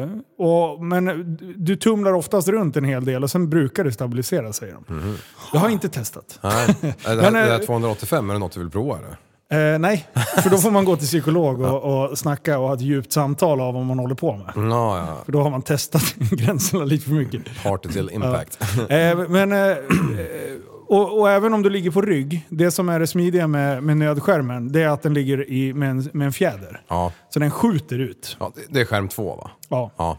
Eh, och, men du- du tumlar oftast runt en hel del och sen brukar det stabilisera, säger de. Mhm. Jag har inte testat. Nej. Eh, det, här, Men, det här eh, 285, är det något du vill prova eller? Eh, nej, för då får man gå till psykolog och, och snacka och ha ett djupt samtal av vad man håller på med. Ja, ja. För då har man testat gränserna lite för mycket. Party till impact. Eh, men, eh, och, och även om du ligger på rygg, det som är det smidiga med, med nödskärmen, det är att den ligger i, med, en, med en fjäder. Ja. Så den skjuter ut. ja, det- det är skärm två va? Ja. Ja. Och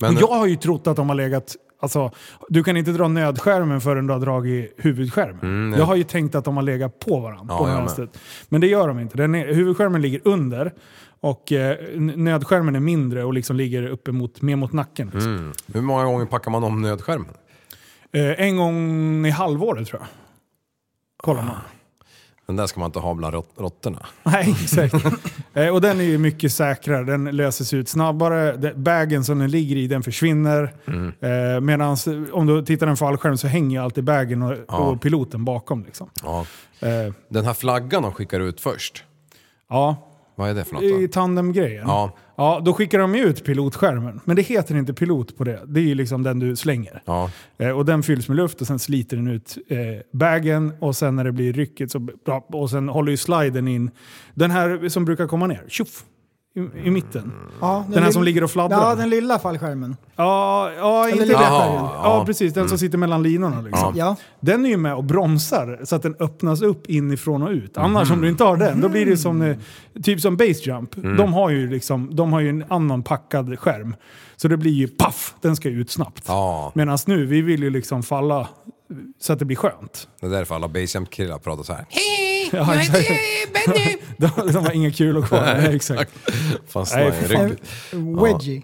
Men, jag har ju trott att de har legat... Alltså, du kan inte dra nödskärmen förrän du har dragit huvudskärmen. jag har ju tänkt att de har legat på varandra Mm, Ja, på jag med. vänstret. Men det gör de inte. Den är, huvudskärmen ligger under och eh, n- nödskärmen är mindre och liksom ligger uppe mot, mer mot nacken. Liksom. Mm. Hur många gånger packar man om nödskärmen? Eh, en gång i halvåret tror jag. Kollar Ah. man. Den där ska man inte ha bland rott- råttorna. Nej, exakt. eh, och den är ju mycket säkrare. Den löses ut snabbare. De- Bagen som den ligger i, den försvinner. Mm. Eh, Medan om du tittar i en fallskärm så hänger ju alltid bagen och, och piloten bakom. Liksom. Ja. Eh, Den här flaggan de skickar ut först, ja, vad är det för något i då? tandemgrejen. Ja. Ja, då skickar de ju ut pilotskärmen. Men det heter inte pilot på det. Det är ju liksom den du slänger. Ja. Eh, och den fylls med luft och sen sliter den ut eh, bagen och sen när det blir ryckigt så... Och sen håller ju sliden in. Den här som brukar komma ner, tjoff! I, I mitten. Mm. Ja, Den här lill- som ligger och fladdrar. Ja, den lilla fallskärmen. Ja, ja inte lilla den. färgen. Ja, Mm. precis. Den som sitter mellan linorna. Liksom. Ja. Den är ju med och bromsar så att den öppnas upp inifrån och ut. Annars om du inte har den, då blir det som, eh, typ som base jump. De, har ju liksom, de har ju en annan packad skärm. Så det blir ju paff, den ska ju ut snabbt. Ja, Medan nu, vi vill ju liksom falla så att det blir skönt. det är därför alla basejump-killar pratar så här. Ja, exakt. de, de har inga kulor kvar. Nej, exakt. Fastnar Nej, i för fan. ryggen. En wedgie.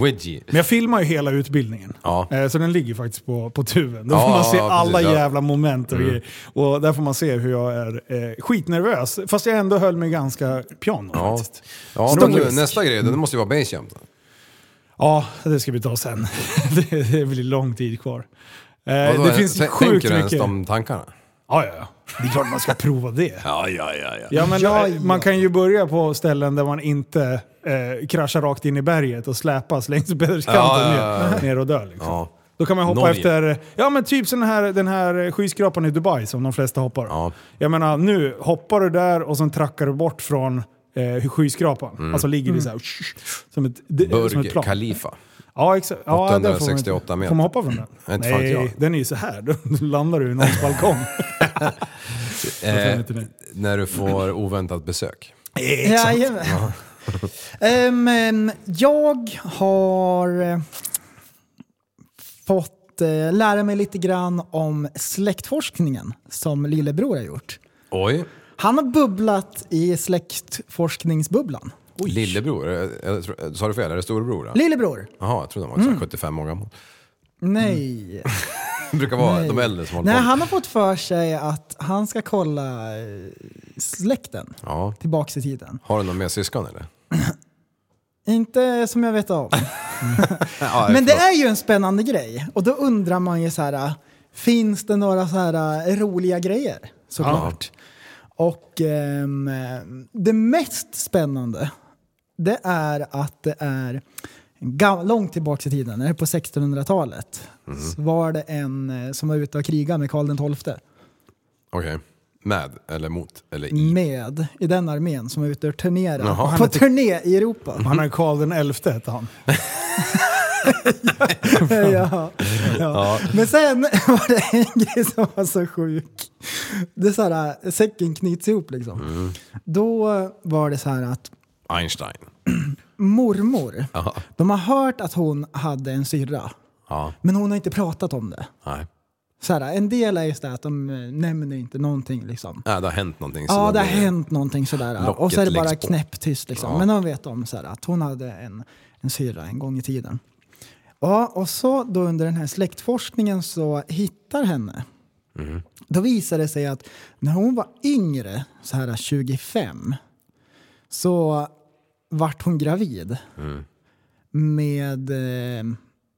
Wedgie. Men jag filmar ju hela utbildningen. Ja. Eh, Så den ligger faktiskt på, på tuven. Där Ja, får man se ja, alla precis, ja. Mm. jävla moment och, grejer. och där får man se hur jag är eh, skitnervös. Fast jag ändå höll mig ganska piano Ja, faktiskt. ja Stor men nu, risk. nästa grej, det måste ju vara basejump. Ja, det ska vi ta sen. det, det blir lång tid kvar. Eh, Vadå, det finns tänker sjukt du ens mycket. de tankarna? Ja, ja, ja. Det är klart man ska prova det. Ja, ja, ja. ja. Ja, men, Ja, eh, ja. Man kan ju börja på ställen där man inte eh, kraschar rakt in i berget och släpas längs bergskanten Ja, ja, ja, ja. Ner, ner och dör. Liksom. ja. Då kan man hoppa Norge. efter, ja men typ sån här, den här skyskrapan i Dubai som de flesta hoppar. Ja. Jag menar nu hoppar du där och sen trackar du bort från eh, skyskrapan. Mm. Alltså ligger du så här, som ett, det- som ett Burj plan. Khalifa. Ja, exakt. Ja, 868 där får man inte- Får meter. Eh. man hoppa från den? Nej, inte fan Nej, jag. den är ju så här. Då landar du i någons balkong. Eh, inte det. när du får oväntat besök. Jajamän. Ehm, ehm, jag har eh, fått eh, lära mig lite grann om släktforskningen som lillebror har gjort. Oj. Han har bubblat i släktforskningsbubblan. Lillebror? Eh, jag tror- Sa du fel? Är det storebror? då? Lillebror? Jaha, jag trodde han var Mm. så här 75 år gammal. Nej. Det brukar vara Nej. de äldre som håller Nej, på. han har fått för sig att han ska kolla eh, släkten Ja. tillbaks i tiden. Har du någon mer syskon eller? Inte som jag vet om. Ja, Men det förlåt. är ju en spännande grej. Och då undrar man ju så här, finns det några så här roliga grejer? Såklart. Och ehm, det mest spännande, det är att det är ga- långt tillbaka i tiden, det är på 1600-talet, Mhm. så var det en eh, som var ute och krigade med Karl XII. Okej. Med eller mot eller Mm. i? Med i den armén som var ute och turnerade. Jaha. Mm. På turné i Europa. Han är Karl den elfte hette han. ja, ja. Men sen var det en grej som var så sjuk. Det är så här, äh, säcken knyts ihop liksom. Då var det så här att Einstein. mormor, Ja. de har hört att hon hade en syrra. Ja. Men hon har inte pratat om det. Nej. Så här, en del är just det att de eh, nämner inte någonting liksom. Nej, det har hänt någonting. så Ja, då det har blir hänt någonting sådär. Locket Och så är det bara läggs på. knäpptyst liksom. Men de vet om så här, att hon hade en, en syra en gång i tiden. Ja, och så då under den här släktforskningen så hittar henne. Mm. Då visar det sig att när hon var yngre, så här 25, så vart hon gravid Mm. med eh,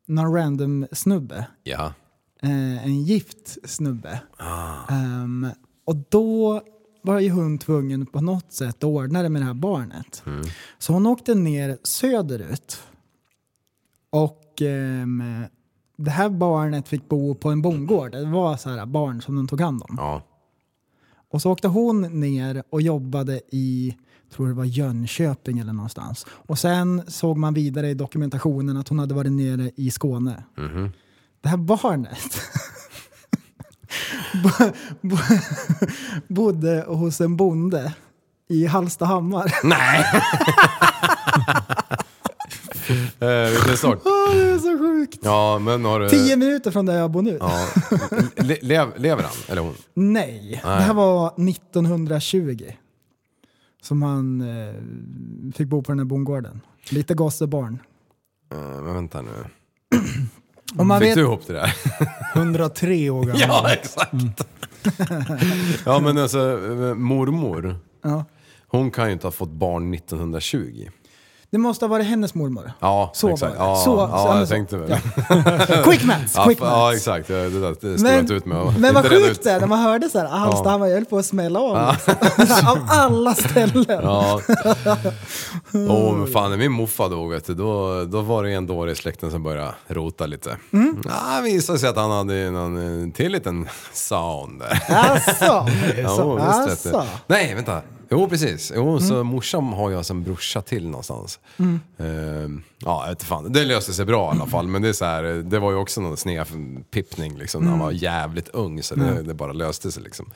någon random snubbe Ja. eh, en gift snubbe. Ehm, och då var ju hon tvungen på något sätt att ordna det med det här barnet. Så hon åkte ner söderut. Och ehm, det här barnet fick bo på en bondgård. Det var så här barn som de tog hand om. Ja. Och så åkte hon ner och jobbade i, tror det var Jönköping eller någonstans. Och sen såg man vidare i dokumentationen att hon hade varit nere i Skåne. Det här barnet bo- bo- bodde hos en bonde i Hallstahammar. Eh, vilken sort? Åh, det är så sjukt! Ja, men har du... Tio minuter från där jag bor nu. Ja. Le lev- lever han? Eller hon? Nej. det här var 1920 som han eh, fick bo på den här bondgården. Lite gossebarn. Eh, men vänta nu. Om man Fick vet, du ihop det där? 103 år gammal. Ja, exakt. ja, men alltså eh, mormor, Ja. hon kan ju inte ha fått barn 1920. Det måste ha varit hennes mormor. Ja, Så var exakt. det. Ja, Så- så- ja, men jag så- tänkte väl. ja. Ja, Quick maths! ja, quick f- ja maths. exakt. Det, det, där- det stod jag Men, inte ut med. och- men vad inte rädd sjukt ut. det är när man hörde så här, ah, Hallstahammar jag höll på att smälla av. Av alla ställen. Ja. Åh, men fan när min morfar dog vet du, då, då var det en dåre i släkten som började rota lite. Mm. Ja, det visade sig att han hade ju någon eh, till liten sound där. Alltså. Jo, visst, vet du. Alltså. Nej, vänta. Jo, precis. Jo, Mm. så morsan har jag som brorsa till någonstans. Ehm, ja, jag vet fan. Det löste sig bra i alla fall. Men det, är så här, det var ju också någon snedpippning liksom, när han Mm. var jävligt ung. Så det, det bara löste sig liksom.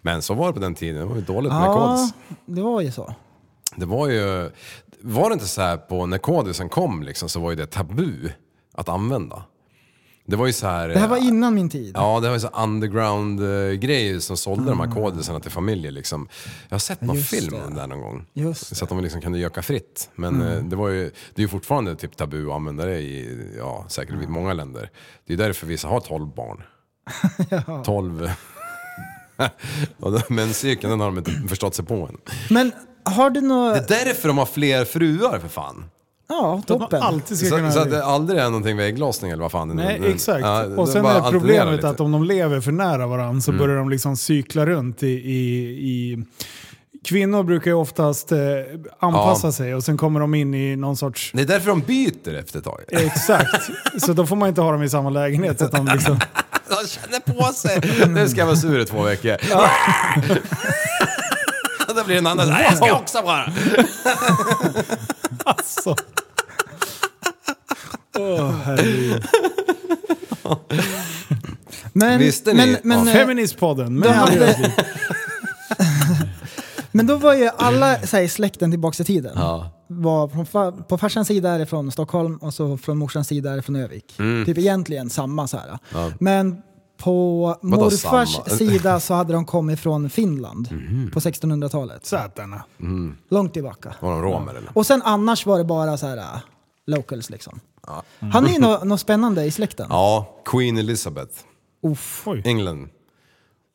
Men så var det på den tiden. Det var ju dåligt med Ja, kods. det var ju så. Det var ju... Var det inte så här på när kodisen kom liksom, så var ju det tabu att använda. Det var ju så här... Det här var innan min tid. Ja, det var ju så underground-grejer som sålde Mm. de här kodisarna till familjer. Liksom. Jag har sett någon Just film det. om det här någon gång. Just så att de liksom kunde göka fritt. Men Mm. eh, det, var ju, det är ju fortfarande typ tabu att använda det i ja, säkert Mm. i många länder. Det är därför vissa har 12 barn. 12... Och den- Men cirkeln den har de inte förstått sig på än. Men har du något... Det är därför de har fler fruar för fan. Ja, Man toppen. alltid ska Så, kunna... så att det aldrig är någonting med ägglossning eller vad fan det nu- Nej, nu- exakt. Ja, det och sen bara är alternerar problemet lite. Mm. att om de lever för nära varandra så börjar de liksom cykla runt i... i, i Kvinnor brukar ju oftast eh, anpassa Ja. sig och sen kommer de in i någon sorts... Det är därför de byter efter ett tag. Exakt. Så då får man inte ha dem i samma lägenhet. Så att de liksom... De känner på sig. Nu ska jag vara sur i två veckor. Då blir det en annan så här, jag ska också vara. Alltså. Åh, herregud. Men, Visste ni- men, men, Ja. eh, Feministpodden. de Men hade... men då var ju alla så här, i släkten tillbaka i tiden. Var från fa- på farsans sida är det från Stockholm och så från morsans sida är det från Övik. Mm. Typ egentligen samma så här. Men på morfars samma? Mhm. sida så hade de kommit från Finland på 1600-talet. Sätarna. Långt tillbaka. Var de romer eller? Och sen annars var det bara så här äh, locals liksom. Han är ju något nå spännande i släkten. Ja, Queen Elizabeth, Oj. England.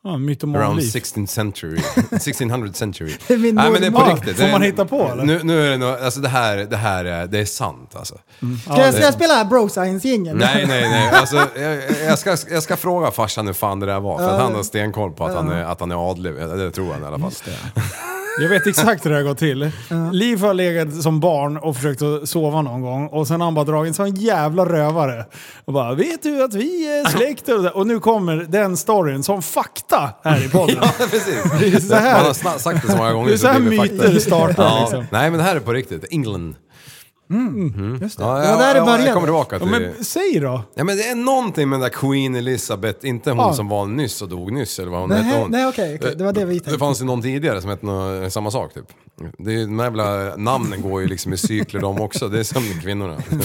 Ja, Around mytomanliv. 16th century. 1600 century. är min Nej, men det är på mormor. riktigt. Får Det är- man hitta på, eller? Nu, nu är det nog, alltså det här, det här är, det är sant alltså. Ska jag, ska jag spela här Bro Science-gängen? Nej, nej, nej. Alltså, jag, jag, ska, jag ska fråga farsan hur fan det där var. För att han har stenkoll på att han är, att han är adlig. Det tror han i alla fall. Jag vet exakt hur det här går till. Liv har legat som barn och försökt att sova någon gång och sen har han bara dragit som en jävla rövare. Och bara, vet du att vi är släkt? Och så där. Och nu kommer den storyn som fakta här i podden. Ja, precis. är så här. Man har sna- sagt det så många gånger. Det är så här blir fakta. myter startar, liksom. Nej, men det här är på riktigt. England. Mm. Just det. Ja, det var där det jag, jag, började. jag kommer tillbaka Ja, till det. men säg då! Ja, men det är någonting med den där Queen Elizabeth, inte hon Ja. som var nyss och dog nyss eller vad hon Nej, hette hon. Eh, nej, okej, okej. Det var det vi tänkte. Det fanns ju någon tidigare som hette nå- samma sak typ. Det är, ju- de här jävla namnen går ju liksom i cykler de också, det är som kvinnorna. nej,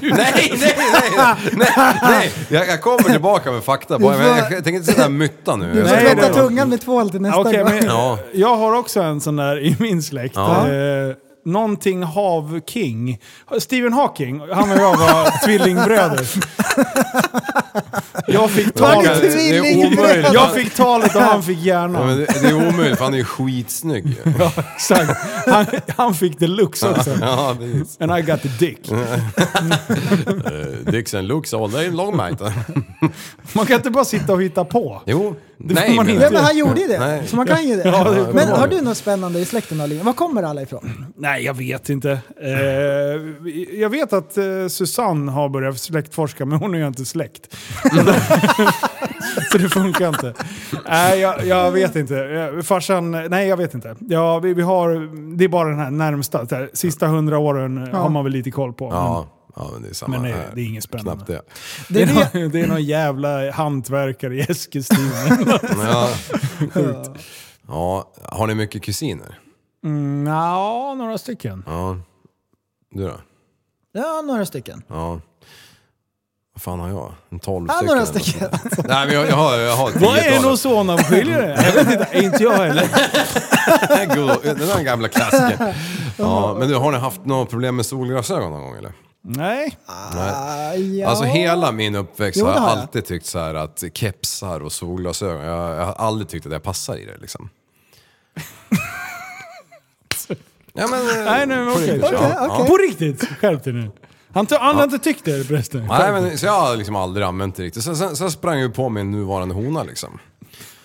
nej, nej, nej, nej! Jag, jag kommer tillbaka med fakta på, men jag, jag tänker inte sitta här och mytta nu. Du Jag får Nej, ska- det tvätta var- tungan med tvål till nästa Okej, gång. men Ja. Jag har också en sån där i min släkt. Ja. Eh, någonting Havking. Stephen Hawking, han och jag var tvillingbröder. Jag fick Var Jag det talet, kan- det är tvillingbröder? omöjligt. jag fick talet och han fick hjärnan. Ja, men det, det är omöjligt, för han är ju skitsnygg ju. Ja, exakt. Han, han fick deluxe också. Ja, precis. And I got the dick. Eh, Dixon looks all day long mate. Man kan inte bara sitta och hitta på. Jo. får man men- inte Ja, men han gjorde ju det, Nej. så man kan ju det. Ja, det men kommer har jag du något spännande i släkten Ali? Var kommer alla ifrån? Nej, jag vet inte. Eh, jag vet att eh, Susanne har börjat släktforska, men hon är ju inte släkt. Så det funkar inte. Nej, jag, jag vet inte. Eh, Farsan, nej jag vet inte. Ja, vi, vi har, det är bara den här närmsta. Så här, sista hundra åren eh, har man väl lite koll på. Ja, ja, men det är samma Men nej, här. det är inget spännande. Knappt det. Det, är det- någon, det är någon jävla hantverkare i Eskilstuna. Ja. ja, har ni mycket kusiner? mm, ja, några stycken. Ja. Du då? Ja, några stycken. Ja. Vad fan har jag? En tolv Ja, stycken? några eller något stycken. sånt. Nej, men jag, jag har, jag har ett Vad är en tiotal. ozonavskiljare? Jag vet inte, inte jag heller. God- Den där gamla klassikern. Ja, men du, har ni haft några problem med solglasögon någon gång eller? Nej. Ah, ja. Alltså hela min uppväxt Jo, har det jag har jag. alltid tyckt så här att kepsar och solglasögon, jag, jag har aldrig tyckt att jag passar i det liksom. ja, men, eh, Nej, nej, men på okej. riktigt, ja. Okej, okej. På riktigt? Skärp dig nu. Han, t- han har inte tyckt det förresten. Nej, men, så jag har liksom aldrig använt det riktigt. Sen, sen, sen sprang jag ju på min nuvarande hona liksom.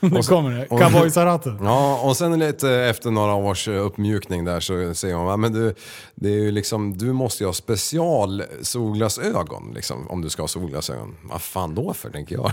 Nu kommer det. Cowboysaratten. alltså. Ja, och sen lite efter några års eh, uppmjukning där så säger hon, "Va, men du, det är ju liksom, du måste ju ha special solglasögon liksom, om du ska ha solglasögon. Vad fan då för, tänker jag.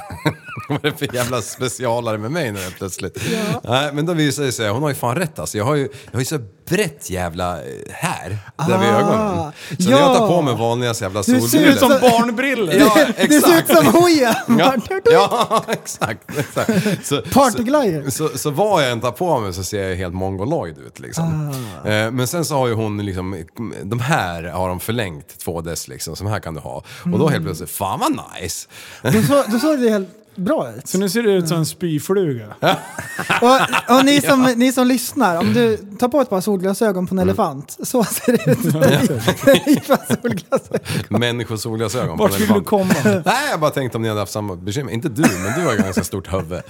Vad är det för jävla specialare med mig nu helt plötsligt? Nej, men då visar det sig, hon har ju fan rätt alltså. Jag har ju, jag har ju så brett jävla eh, här, där vid ögonen. Så när jag tar på mig vanliga jävla Ah, Du solbrillor. ser ut som Barnbriller! Ja, Det ser ut exakt. som hoja! Ja, ja exakt. exakt. Så, Partyglajjor. Så, så, så vad jag än tar på mig så ser jag helt mongoloid ut liksom. Ah. Eh, men sen så har ju hon liksom, de här har de förlängt 2DS liksom, så här kan du ha. Och Mm. då helt plötsligt, fan vad nice! Du, så, du såg det helt bra ut. Så nu ser du ut som en spyfluga. Och, och ni, som, ni som lyssnar, om du tar på ett par solglasögon på en elefant, så ser det ut. Ripa solglasögon. Människors solglasögon. på Vart en skulle du elefant. komma? Nej, jag bara tänkte om ni hade haft samma bekymmer. Inte du, men du har ganska stort huvud.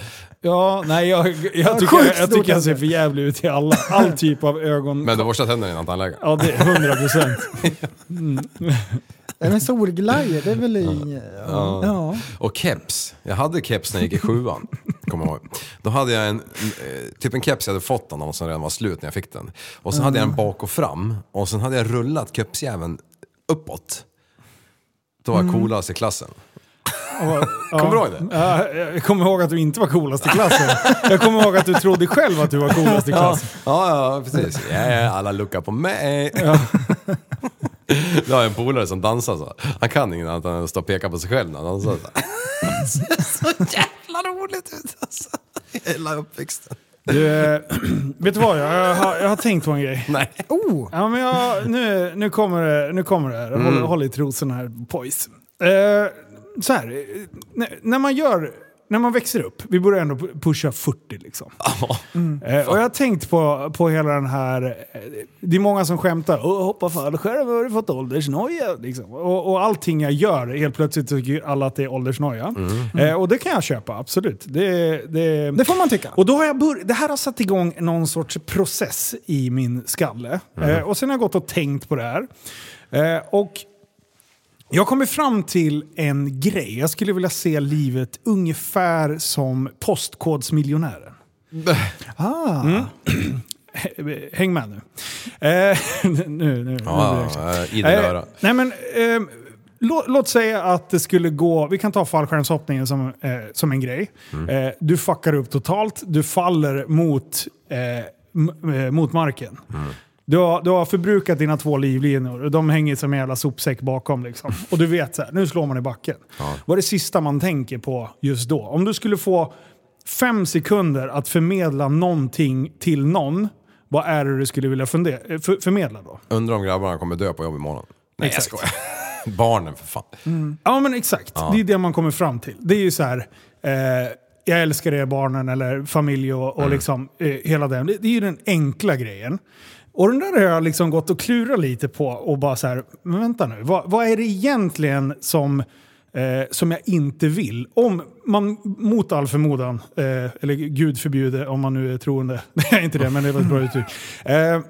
Ja, nej jag, jag tycker, sjukt jag, jag, tycker jag ser stort. för jävlig ut i alla, all typ av ögon... Men du har borstat tänderna innan tandläkaren? Ja, det är 100 procent. Nej men solglajjor, det är väl inget... Ja. Ja. Och keps. Jag hade keps när jag gick i sjuan. Kommer jag ihåg. Då hade jag en, eh, typ en keps jag hade fått av någon som redan var slut när jag fick den. Och sen hade jag den bak och fram. Och sen hade jag rullat kepsjäveln uppåt. Då var jag coolast i klassen. Kommer du ihåg det? Ja, jag kommer ihåg att du inte var coolast i klassen. Jag kommer ihåg att du trodde själv att du var coolast i klassen. Ja, ja precis. Yeah, alla luckar på mig. Jag har en polare som dansar så. Han kan inget annat än att stå och peka på sig själv när han dansar så. Det ser så jävla roligt ut alltså. Hela uppväxten. Du, eh, vet du vad? Jag, jag, har, jag har tänkt på en grej. Nej. Oh! Ja, men jag, nu, nu, kommer det, nu kommer det här. Mm. Håll, håll i trosorna här pojs. Eh, så här, eh, när- när man gör... När man växer upp, vi börjar ändå pusha 40 liksom. Mm. Eh, och jag har tänkt på, på hela den här... eh, Det är många som skämtar. Åh, hoppa fallskärm, har du fått åldersnoja? Liksom. Och, och allting jag gör, helt plötsligt tycker alla att det är åldersnoja. Eh, och det kan jag köpa, absolut. Det, det, Mm. Det får man tycka. och då har jag bör- det här har satt igång någon sorts process i min skalle. Mm. Eh, och sen har jag gått och tänkt på det här. Eh, och jag kommer fram till en grej. Jag skulle vilja se livet ungefär som Postkodsmiljonären. Mm. Häng med nu. Eh, nu, nu, nu blir Ja, det- ja, idel Eh, öra. nej men, ehm, lå, låt säga att det skulle gå, vi kan ta fallskärmshoppningen som, eh, som en grej. Eh, du fuckar upp totalt, du faller mot, eh, m- eh, mot marken. Du har, du har förbrukat dina två livlinor och de hänger som en jävla sopsäck bakom. Liksom. Och du vet så här, nu slår man i backen. Vad är det sista man tänker på just då? Om du skulle få fem sekunder att förmedla någonting till någon, vad är det du skulle vilja funde- eh, för, förmedla då? Undrar om grabbarna kommer dö på jobb imorgon. Nej, Exakt. jag skojar. Barnen för fan. Ja men exakt, det är det man kommer fram till. Det är ju så här, eh, jag älskar er barnen eller familj och, och liksom eh, hela den. Det, det är ju den enkla grejen. Och den där har jag liksom gått och klurat lite på och bara så här, men vänta nu, vad, vad är det egentligen som, eh, som jag inte vill? Om man mot all förmodan, eh, eller gud förbjude om man nu är troende, det är inte det men det var ett bra uttryck. Eh,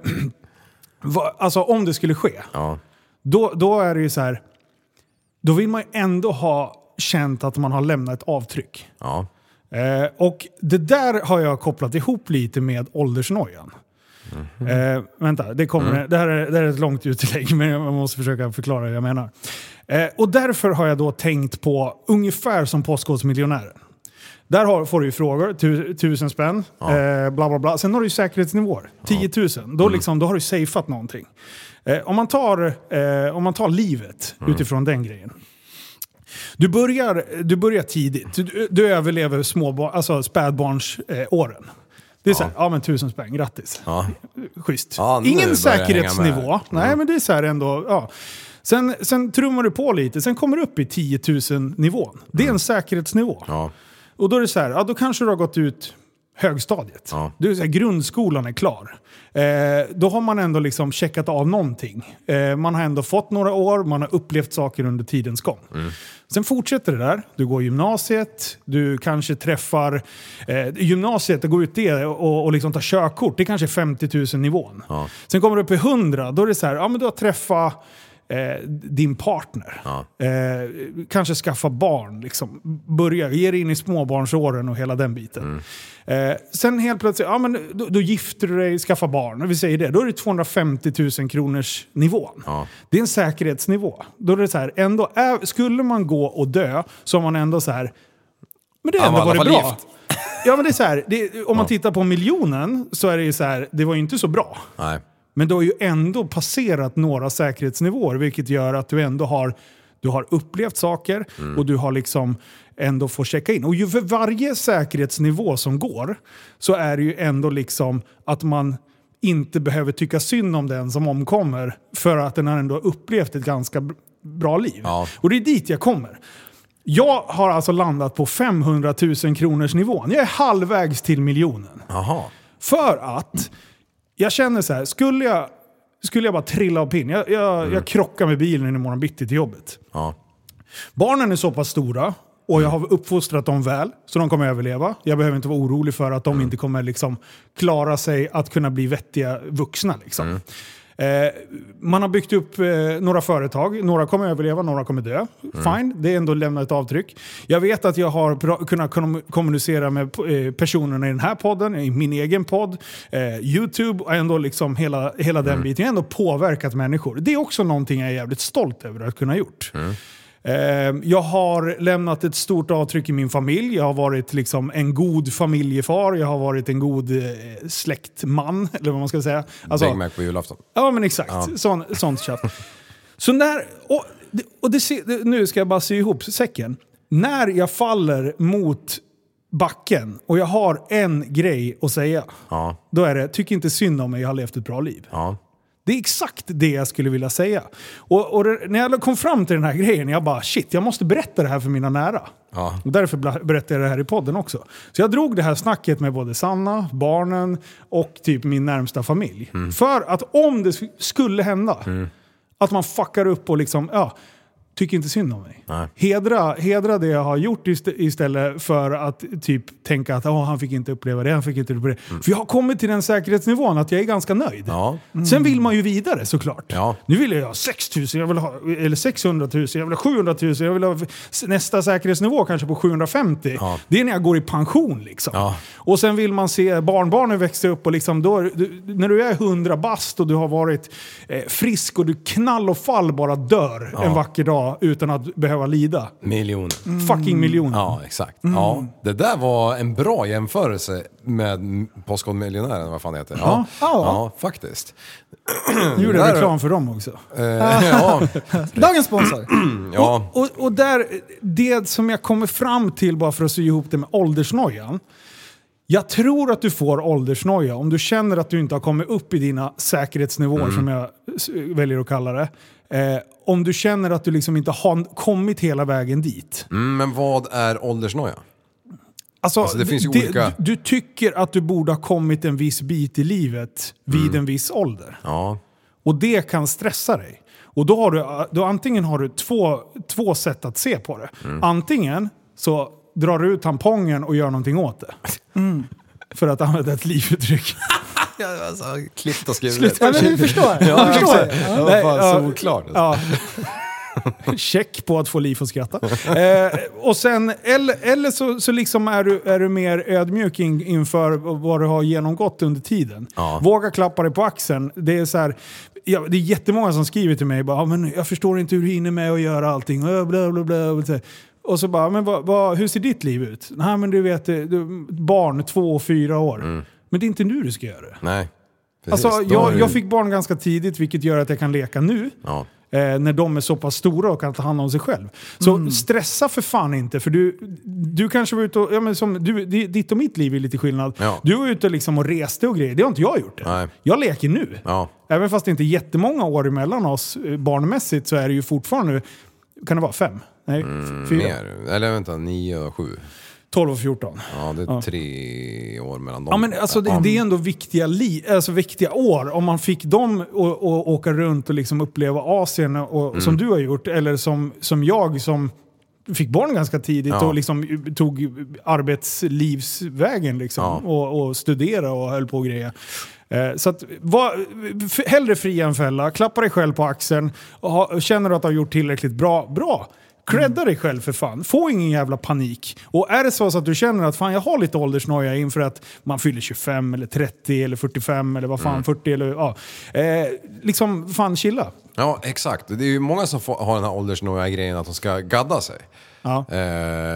vad- alltså om det skulle ske, Ja. då, då är det ju så här, då vill man ju ändå ha känt att man har lämnat ett avtryck. Ja. Eh, och det där har jag kopplat ihop lite med åldersnojan. Eh, vänta, det, kommer, det, här är, det här är ett långt utlägg men jag måste försöka förklara hur jag menar. Eh, och därför har jag då tänkt på ungefär som Postkodmiljonären. Där har, får du ju frågor, tu, tusen spänn, eh, bla bla bla. Sen har du ju säkerhetsnivåer, 10 000. Då, liksom, då har du safeat någonting. Eh, om, man tar, eh, om man tar livet utifrån den grejen. Du börjar, du börjar tidigt. Du, du överlever småbarn, alltså spädbarnsåren. Eh, åren. det är så här, ja men tusen spänn, grattis. Ja. Schysst. Ja, nu börjar Ingen jag säkerhetsnivå. hänga med. Mm. Nej men det är så här ändå, ja. Sen, sen trummar du på lite, sen kommer du upp i 10 000 nivån. Det är en säkerhetsnivå. Mm. Ja. Och då är det så här, ja, då kanske du har gått ut högstadiet. Ja. Du, är så här, grundskolan är klar. Eh, då har man ändå liksom checkat av någonting. Eh, man har ändå fått några år, man har upplevt saker under tidens gång. Sen fortsätter det där. Du går gymnasiet, du kanske träffar... Eh, gymnasiet, att gå ut det och, och liksom ta körkort, det är kanske 50 000 nivån. Sen kommer du upp i 100, då är det så här, ja men du har träffat eh, din partner. Eh, kanske skaffa barn, liksom. börja, ge dig in i småbarnsåren och hela den biten. Mm. Eh, sen helt plötsligt, ja, men då, då gifter du dig, skaffa barn. Och vi säger det, då är det 250 000 kronors nivån. Det är en säkerhetsnivå. Då är det så här, ändå är, skulle man gå och dö så har man ändå så här, men det har Han var ändå i varit alla bra. fall gift. Ja men det är så här, det, om man tittar på miljonen så är det ju så här, det var ju inte så bra. Nej. Men du har ju ändå passerat några säkerhetsnivåer vilket gör att du ändå har du har upplevt saker och du har liksom ändå får checka in. Och ju för varje säkerhetsnivå som går så är det ju ändå liksom att man inte behöver tycka synd om den som omkommer för att den har ändå upplevt ett ganska b- bra liv. Ja. Och det är dit jag kommer. Jag har alltså landat på 500 000 kronors nivån. Jag är halvvägs till miljonen. Jaha. För att jag känner så här, skulle jag, skulle jag bara trilla av pinn, jag, jag, jag krockar med bilen imorgon bitti till jobbet. Ja. Barnen är så pass stora och jag har uppfostrat dem väl, så de kommer överleva. Jag behöver inte vara orolig för att de inte kommer liksom klara sig att kunna bli vettiga vuxna. Liksom. Eh, man har byggt upp eh, några företag. Några kommer överleva, några kommer dö. Fine, det är ändå lämnat ett avtryck. Jag vet att jag har pra- kunnat kom- kommunicera med eh, personerna i den här podden, i min egen podd, eh, YouTube och ändå liksom hela, hela den biten. Jag har ändå påverkat människor. Det är också någonting jag är jävligt stolt över att kunna ha gjort. Eh, Jag har lämnat ett stort avtryck i min familj. Jag har varit liksom en god familjefar. Jag har varit en god eh, släktman, eller vad man ska säga. Alltså- Big Mac på julafton. Ja, men exakt. Sån, sånt tjafs. Så när... Och, och det, se- det, nu ska jag bara sy ihop säcken. När jag faller mot backen och jag har en grej att säga. Ja. Då är det, tyck inte synd om mig, jag har levt ett bra liv. Ja. Det är exakt det jag skulle vilja säga. Och, och det- när jag kom fram till den här grejen, jag bara shit, jag måste berätta det här för mina nära. Ja. Och därför bla- berättar jag det här i podden också. Så jag drog det här snacket med både Sanna, barnen och typ min närmsta familj. Mm. För att om det sk- skulle hända, att man fuckar upp och liksom, ja, tycker inte synd om mig. Nej. Hedra, hedra det jag har gjort ist- istället för att typ tänka att "Åh, han fick inte uppleva det, han fick inte uppleva det. För jag har kommit till den säkerhetsnivån att jag är ganska nöjd. Mm. Ja. Mm. Sen vill man ju vidare såklart. Ja. Nu vill jag ha 6 000, jag vill ha, eller 600 000, jag vill ha 700 000, jag vill ha s- nästa säkerhetsnivå kanske på 750. Ja. Det är när jag går i pension liksom. Ja. Och sen vill man se barnbarnen växa upp och liksom då, du, när du är 100 bast och du har varit eh, frisk och du knall och fall bara dör en vacker dag utan att behöva lida. Miljoner. Fucking miljoner. Mm. Ja, exakt. Mm. Ja, det där var en bra jämförelse med Postkodmiljonären, vad fan det heter. Ja, ja. faktiskt. Nu gjorde Där- jag reklam för dem också. Eh, ja, Dagens sponsor. ja. Och, och där, det som jag kommer fram till bara för att sy ihop det med åldersnojan. Jag tror att du får åldersnoja om du känner att du inte har kommit upp i dina säkerhetsnivåer Mm. som jag s- väljer att kalla det. Eh, om du känner att du liksom inte har kommit hela vägen dit. Mm, men vad är åldersnoja? Alltså, Alltså, det finns ju olika- Du, du tycker att du borde ha kommit en viss bit i livet vid Mm. en viss ålder. Ja, Och det kan stressa dig. Och då har du, då antingen har du två, två sätt att se på det. Antingen så drar du ut tampongen och gör någonting åt det. För att använda ett livuttryck. klippt och skrivet. alltså, Sluta. Ja, men du förstår. Ja, Du förstår. exakt. Ja, vad fan, solklar. alltså. Ja. Check på att få liv att skratta. Eh, och sen, eller, eller så, så liksom är, du, är du mer ödmjuk in, inför vad du har genomgått under tiden. Ja. Våga klappa dig på axeln. Det är, så här, ja, det är jättemånga som skriver till mig bara, "Ja, men jag förstår inte hur du hinner med att göra allting. Och bla, bla, bla, och så här. Och så bara, men vad, vad, hur ser ditt liv ut? Nej men du vet, eh, du, barn två och fyra år. Mm. Men det är inte nu du ska göra det. Nej, precis. Alltså, Då har jag, du- jag fick barn ganska tidigt vilket gör att jag kan leka nu. Ja. Eh, när de är så pass stora och kan ta hand om sig själv. Så Mm. stressa för fan inte. För du, du kanske var ute och... Ja, men som, du, di- ditt och mitt liv är lite skillnad. Ja. Du var ute liksom och reste och grejer. Det har inte jag gjort än. Nej. Jag leker nu. Ja. Även fast det inte är jättemånga år emellan oss eh, barnmässigt så är det ju fortfarande... Kan det vara fem? Nej, f- fyra? Mm, Mer. Eller vänta, nio och sju. 12 och 14. Ja, det är tre år mellan dem. Ja, men alltså, det, det är ändå viktiga, li, alltså, viktiga år. Om man fick dem att att åka runt och liksom uppleva Asien och, Mm. som du har gjort, eller som, som jag som fick barn ganska tidigt Ja. och liksom tog arbetslivsvägen liksom, Ja. och, och studerade och höll på och grejer. Eh, Så att, var, f- hellre fria än fälla, klappa dig själv på axeln, och ha, känner du att du har gjort tillräckligt bra, bra! Credda dig själv för fan, få ingen jävla panik. Och är det så att du känner att fan jag har lite åldersnoja inför att man fyller 25 eller 30 eller 45 eller vad fan 40 eller ja. Eh, liksom fan chilla. Ja, exakt. Det är ju många som får, har den här åldersnoja grejen att de ska gadda sig. Ja. Eh,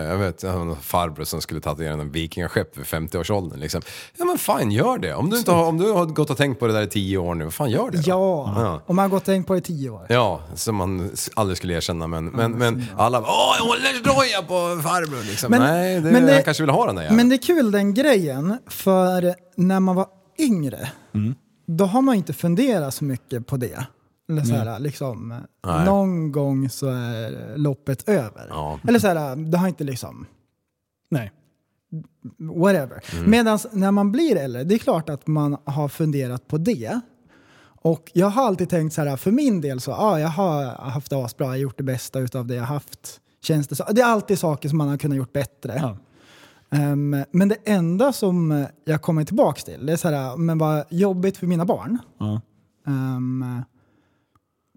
jag vet, jag har någon farbror som skulle tatuera en vikingaskepp vid 50-årsåldern. Liksom. Ja men fan, gör det! Om du, inte har, om du har gått och tänkt på det där i 10 år nu, fan gör det då. Ja, om man har gått och tänkt på det i tio år. Ja, som man s- aldrig skulle erkänna men, men, men alla bara, åh, åldersnoja på farbror liksom. Men- Nej, det, men det- han kanske vill ha den där jäveln. Men det är kul den grejen, för när man var yngre, Mm. då har man ju inte funderat så mycket på det. Eller så här, liksom, Nej. någon gång så är loppet över. Ja. Eller så här, det har inte liksom, Nej. whatever. Mm. Medan när man blir äldre, det är klart att man har funderat på det. Och jag har alltid tänkt så här, för min del så, ja, jag har haft det asbra, jag har gjort det bästa utav det jag haft. Känns det, så. det är alltid saker som man har kunnat gjort bättre. Ja. Ehm, men det enda som jag kommer tillbaka till, det är så här, men vad jobbigt för mina barn. Ja. Ehm,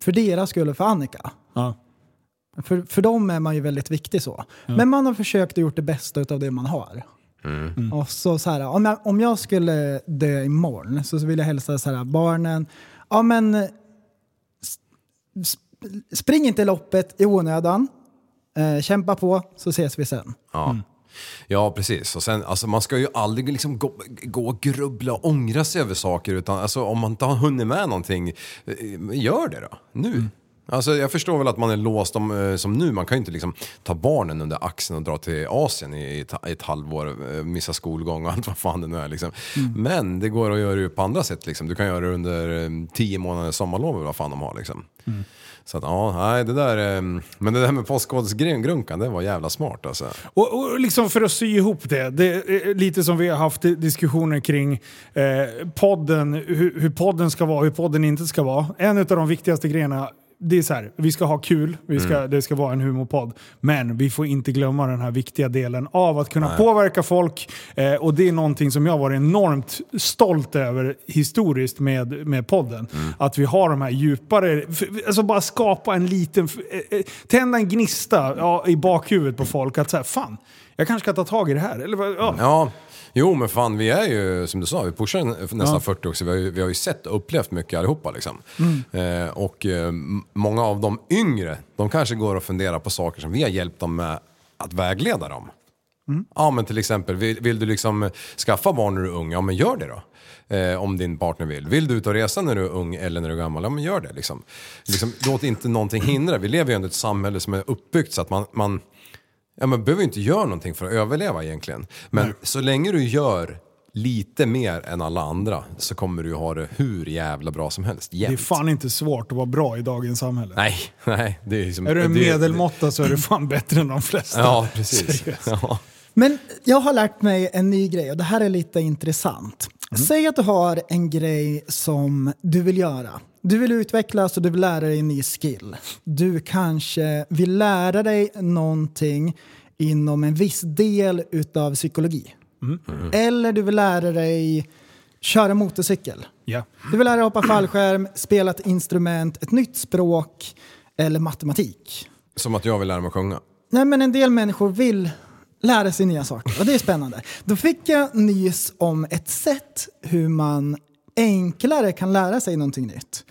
för deras skull och för Annika. Ja. För, för dem är man ju väldigt viktig så. Men man har försökt och gjort det bästa av det man har. Och så, så här, om, jag, om jag skulle dö imorgon så så vill jag hälsa så här, barnen, ja men s- sp- spring inte loppet i onödan. Eh, kämpa på så ses vi sen. Ja. Ja, precis. Och sen, alltså, man ska ju aldrig liksom gå, gå och grubbla och ångra sig över saker. Utan, alltså, om man inte har hunnit med någonting, eh, gör det då. Nu. Alltså, jag förstår väl att man är låst om, eh, som nu. Man kan ju inte liksom, ta barnen under axeln och dra till Asien i, ett- i ett halvår. eh, Missa skolgång och allt vad fan det nu är. Liksom. Men det går att göra det på andra sätt. Liksom. Du kan göra det under eh, tio månaders sommarlov eller vad fan de har. Liksom. Så att, ja, nej, det där, eh, men det där med postkodsgrunkan, det var jävla smart alltså. Och, och liksom för att sy ihop det, det är eh, lite som vi har haft diskussioner kring eh, podden, hur, hur podden ska vara och hur podden inte ska vara. En av de viktigaste grejerna det är så här, vi ska ha kul, vi ska, det ska vara en humorpodd. Men vi får inte glömma den här viktiga delen av att kunna påverka folk. Eh, och det är någonting som jag varit enormt stolt över historiskt med, med podden. Mm. Att vi har de här djupare, f- alltså bara skapa en liten, f- eh, eh, tända en gnista ja, i bakhuvudet på folk. Att så här, fan, jag kanske ska ta tag i det här. Eller, vad- ja. Ja, jo men fan vi är ju som du sa, vi pushar n- nästan 40 också. Vi har, ju, vi har ju sett och upplevt mycket allihopa liksom. Eh, och eh, m- många av de yngre, de kanske går och funderar på saker som vi har hjälpt dem med att vägleda dem. Ja men till exempel, vill, vill du liksom skaffa barn när du är ung? Ja men gör det då. Eh, om din partner vill. Vill du ut och resa när du är ung eller när du är gammal? Ja men gör det liksom. liksom låt inte någonting hindra. Vi lever ju ändå i ett samhälle som är uppbyggt så att man, man Ja, man behöver ju inte göra någonting för att överleva egentligen. Men så länge du gör lite mer än alla andra så kommer du ju ha det hur jävla bra som helst. Det är Jämt. fan inte svårt att vara bra i dagens samhälle. Nej, nej. Det är, liksom, Är du en det- medelmåtta så är du fan bättre än de flesta. Ja, precis. Seriöst. Ja. Men jag har lärt mig en ny grej och det här är lite intressant. Säg att du har en grej som du vill göra. Du vill utvecklas och du vill lära dig en ny skill. Du kanske vill lära dig någonting inom en viss del utav psykologi. Eller du vill lära dig köra motorcykel. Ja. Du vill lära dig hoppa fallskärm, spela ett instrument, ett nytt språk eller matematik. Som att jag vill lära mig att sjunga. Nej, men en del människor vill lära sig nya saker och det är spännande. Då fick jag nys om ett sätt hur man enklare kan lära sig någonting nytt.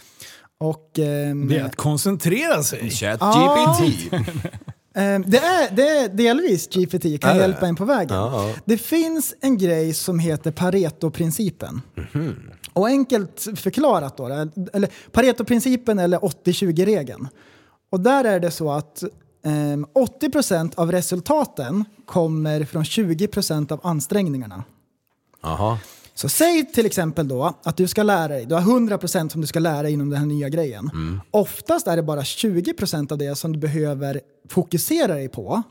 Och, ehm, Mm. Det är att koncentrera sig. ChatGPT! ehm, det, är, det är delvis GPT kan Är det? hjälpa en på vägen. Ja, ja. Det finns en grej som heter Pareto-principen. Mhm. Och enkelt förklarat då, eller Pareto-principen eller 80-20-regeln. Och där är det så att ehm, 80% av resultaten kommer från 20% av ansträngningarna. Aha. Så säg till exempel då att du ska lära dig, du har 100% som du ska lära dig inom den här nya grejen. Oftast är det bara 20% av det som du behöver fokusera dig på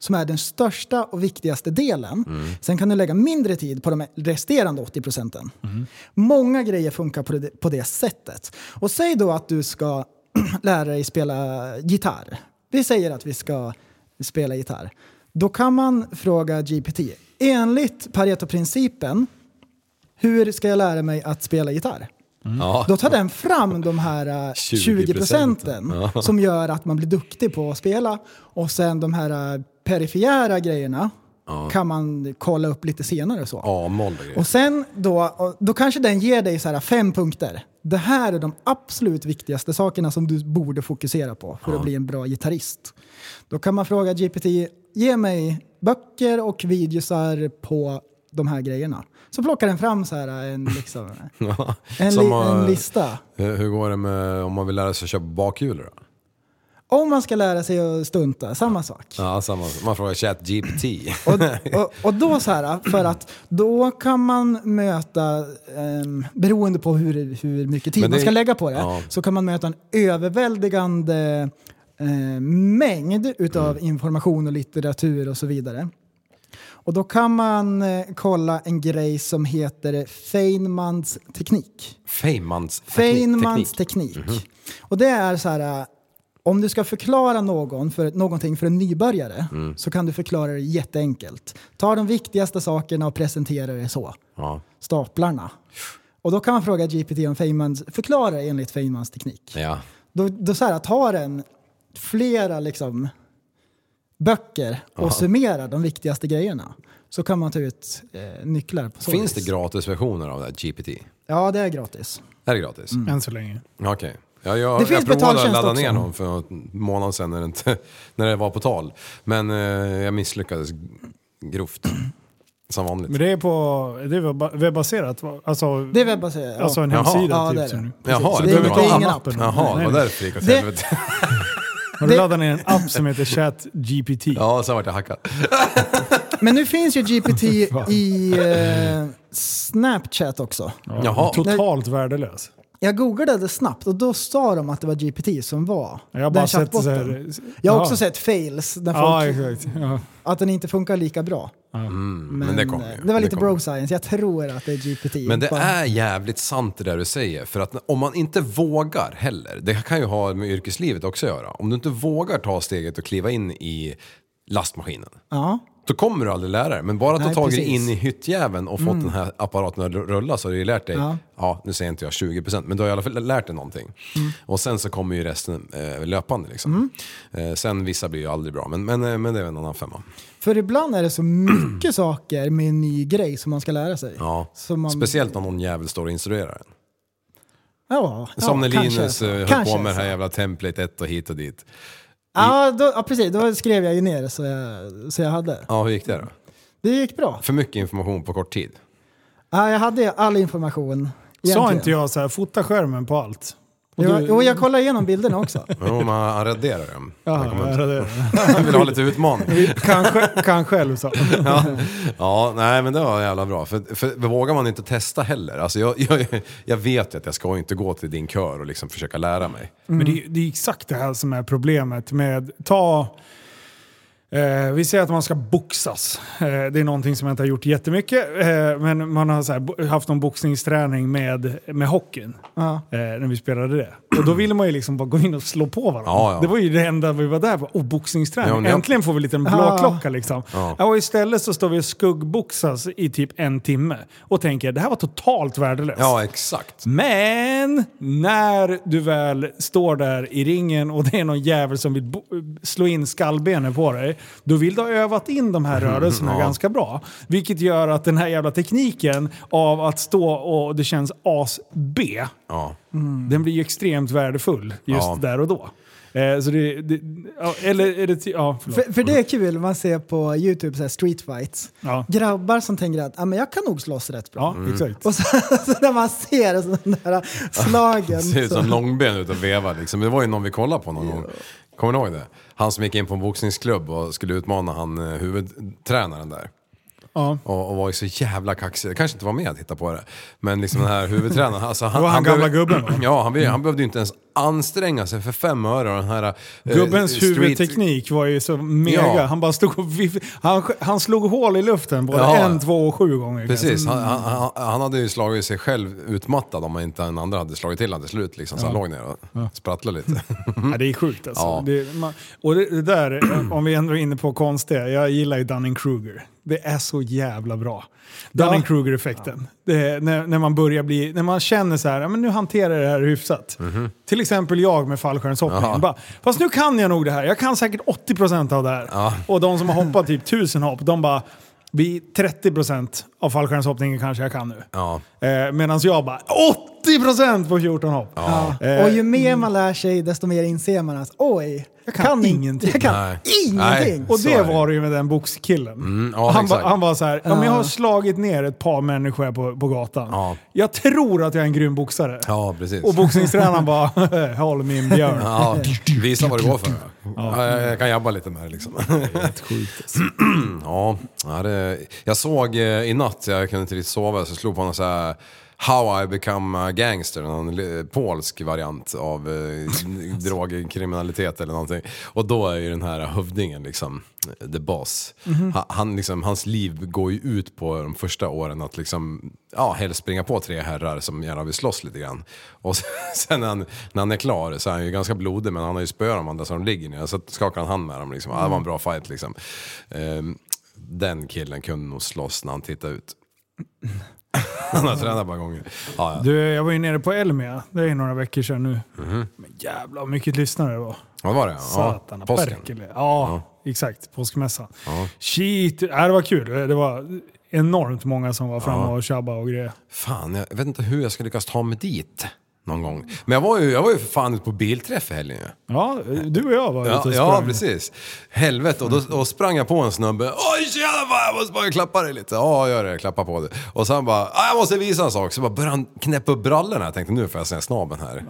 som är den största och viktigaste delen. Sen kan du lägga mindre tid på de resterande 80 procenten. Många grejer funkar på det, på det sättet. Och säg då att du ska lära dig spela gitarr. Vi säger att vi ska spela gitarr. Då kan man fråga GPT. Enligt Pareto-principen hur ska jag lära mig att spela gitarr? Ja. Då tar den fram de här eh, 20 procenten som gör att man blir duktig på att spela. Och sen de här eh, perifera grejerna kan man kolla upp lite senare och så. A-moll och grejer. Och sen då, och då kanske den ger dig så här fem punkter. Det här är de absolut viktigaste sakerna som du borde fokusera på för att bli en bra gitarrist. Då kan man fråga GPT, ge mig böcker och videosar på de här grejerna. Så plockar den fram så här en, liksom, Ja. en, Som, li, en eh, lista. eh, Hur går det med om man vill lära sig att köpa bakhjul då? Om man ska lära sig att stunta, samma sak. Ja, samma, man frågar ChatGPT. Och, och, och då så här, för att då kan man möta, um, beroende på hur, hur mycket tid Men det- man ska lägga på det, ja. så kan man möta en överväldigande eh, mängd utav Mm. information och litteratur och så vidare. Och då kan man eh, kolla en grej som heter Feynmans teknik. Feynmans teknik- Mhm. Feynmans teknik. teknik. Och det är så här, äh, om du ska förklara någon för, någonting för en nybörjare Mm. så kan du förklara det jätteenkelt. Ta de viktigaste sakerna och presentera det så, Ja. staplarna. Och då kan man fråga GPT om Feynmans, förklara enligt Feynmans teknik. ja. Då, då så här, tar den flera liksom, böcker och summerar de viktigaste grejerna. Så kan man ta ut eh, nycklar. På så Finns det vis. gratisversioner av det här GPT? Ja, det är gratis. Är det gratis? Än så länge. Okej. Ja, jag, Mm. Det finns jag provade att betaltjänst ladda också. ner någon för en månad sedan när det, inte, när det var på tal. Men eh, jag misslyckades grovt. Som Men vanligt. det är på det är webba- webbaserat? va? Alltså, Det är webbaserat. Alltså en Jaha. hemsida Ja, typ. det är det. som- Jaha, Så det det är var- inte- det är ingen appen. app. Jaha, det Nej, var nej. därför det gick åt Det- helvete. Har du Det- laddat ner en app som heter ChatGPT? Ja, sen vart jag hackad. Men nu finns ju GPT i eh, Snapchat också. Jaha. Totalt värdelös. Jag googlade snabbt och då sa de att det var GPT som var Jag har bara den sett så chattbotten. här, Jag har Ja. också sett fails, där folk, Ja, exakt. Ja. att den inte funkar lika bra. Men, det kom ju. eh, det var lite kom ju. bro science, jag tror att det är GPT. Men det Bara- är jävligt sant det där du säger. För att om man inte vågar heller, det kan ju ha med yrkeslivet också att göra. Om du inte vågar ta steget och kliva in i lastmaskinen, Ja. då kommer du aldrig lära dig. Men bara att du har Nej, tagit dig precis. Mm. in i hyttjäveln och fått den här apparaten att rulla så har du ju lärt dig, ja. Ja. nu säger inte jag 20% men du har i alla fall lärt dig någonting. Mm. Och sen så kommer ju resten eh, löpande liksom. Mm. Eh, sen vissa blir ju aldrig bra, men, men, eh, men det är en annan femma. För ibland är det så mycket saker med en ny grej som man ska lära sig. Ja. Så man- Speciellt om någon jävel står och instruerar en. Ja, Som ja, när kanske Linus så. eh, höll Kanske på med det så. här jävla template ett och hit och dit. Ja, då, ja, precis. Då skrev jag ju ner det så jag, så jag hade. Ja, hur gick det då? Det gick bra. För mycket information på kort tid. Ja, jag hade all information. Sa egentligen. inte jag så här, fota skärmen på allt? Och Jo, du- jo, jag kollar igenom bilderna också. Jo, men han raderar dem. Han Ja, kommer- ja, det- Han vill ha lite utmaning. Kanske, kan själv så. Ja, nej men det var jävla bra. För, för vågar man inte testa heller. Alltså jag, jag, jag vet ju att jag ska inte gå till din kör och liksom försöka lära mig. Men Mm. det, är- det är exakt det här som är problemet med ta... Eh, vi säger att man ska boxas. Eh, det är någonting som jag inte har gjort jättemycket. Eh, men man har så här, bo- haft någon boxningsträning med, med hockeyn. Ja. Eh, när vi spelade det. Och då ville man ju liksom bara gå in och slå på varandra. Ja, ja. Det var ju det enda vi var där för. Oh, boxningsträning. Ja, men jag- Äntligen får vi lite en Ja. blåklocka liksom. Ja. Ja, och istället så står vi och skuggboxas i typ en timme. Och tänker, det här var totalt värdelöst. Ja, exakt. Men när du väl står där i ringen och det är någon jävel som vill bo- slå in skallbenet på dig, då vill du ha övat in de här rörelserna ganska bra. Vilket gör att den här jävla tekniken av att stå och det känns as-B, Ja. den blir ju extremt värdefull just Ja. där och då. Eh, så det, det, ja, eller är det... ty- Ja, förlåt. För, för det är kul, man ser på YouTube så här street fights. Ja. Grabbar som tänker att ah, men jag kan nog slåss rätt bra. Mm. Ja, exakt. Och så, så när man ser sådana där slagen. Ser ut som så, långben ut och vevar liksom. Det var ju någon vi kollade på någon gång. Kommer ni ihåg det? Han som gick in på en boxningsklubb och skulle utmana han eh, huvudtränaren där. Ja. Och, och var ju så jävla kaxig. Jag kanske inte var med att titta på det. Men liksom den här huvudtränaren. Alltså han, Det var han gamla behöver- gubben, va? Ja, han, be- han behövde ju inte ens anstränga sig för fem öre. och Den här, eh, Gubbens street- huvudteknik var ju så mega. Ja. Han bara stod och viff- han, han slog hål i luften både Ja. en, två och sju gånger. Precis, han, han, han- han hade ju slagit sig själv utmattad om inte den andra hade slagit till honom till slut. Liksom, så han låg ner och sprattlade lite. Ja, det är sjukt alltså. Mm. Ja. Det, man, och det, det där, om vi ändå är inne på konstiga, jag gillar ju Dunning-Kruger. Det är så jävla bra. Mhm. Dunning-Kruger-effekten. Det är När, när man börjar bli, när man känner så här, "Ja, men nu hanterar jag det här hyfsat. Till exempel jag med fallskärmshoppning. Bara, Fast nu kan jag nog det här. Jag kan säkert 80% av det här. Och de som har hoppat typ 1000 hopp, de bara vid 30% av fallskärmshoppningen kanske jag kan nu. Ja. Eh, Medan jag bara 80% på 14 hopp. Och ju mer man lär sig, desto mer inser man att oj, jag kan in- ingenting. Jag kan Nej. ingenting. Nej. Och Så det är det. Mm, var det ju med den boxkillen. ja, han, ba, exakt. han var så här, ja, men jag har slagit ner ett par människor på, på gatan. Ja. Jag tror att jag är en grym boxare. Ja, precis. Och boxningstränaren bara, håll min björn. Ja, visa vad det går för. Ja, jag, jag kan jobba lite med det liksom. ja, ja, det, jag såg eh, i natt, jag kunde inte riktigt sova, så jag slog på någon så här How I become a gangster, någon li- polsk variant av eh, drogkriminalitet eller någonting. Och då är ju den här hövdingen liksom, the boss. Ha- Han, liksom, hans liv går ju ut på de första åren att liksom, ja, helst springa på tre herrar som gärna vill slåss lite grann. Och sen när han, när han är klar så är han ju ganska blodig men han har ju spöat de andra som ligger ner. Så skakar han hand med dem liksom. Ja, det var en bra fight liksom. Ehm, den killen kunde nog slåss när han tittade ut. Han har tränat bara gånger. Ja, ja. Du, jag var ju nere på Elmia, det är ju några veckor sedan nu. Mhm. Men jävlar vad mycket lyssnare det var. Vad var det? Satana, ja, påsken. Perkele. Ja, exakt. Påskmässan. Shit, ja, det var kul. Det var enormt många som var framme och tjabbade och grejer. Fan, jag vet inte hur jag ska lyckas ta mig dit någon gång. Men jag var ju, jag var ju för fan ute på bilträff i helgen ju. Ja, du och jag var ute Ja, och ja sprang. Mm. precis. Helvete, och då och sprang jag på en snubbe. Oj tjena, fan, jag måste bara klappa dig lite. Ja, gör det, klappa på dig. Och sen bara, "Ah, jag måste visa en sak. Så bara började han knäppa upp brallorna. Jag tänkte nu får jag se snabben här.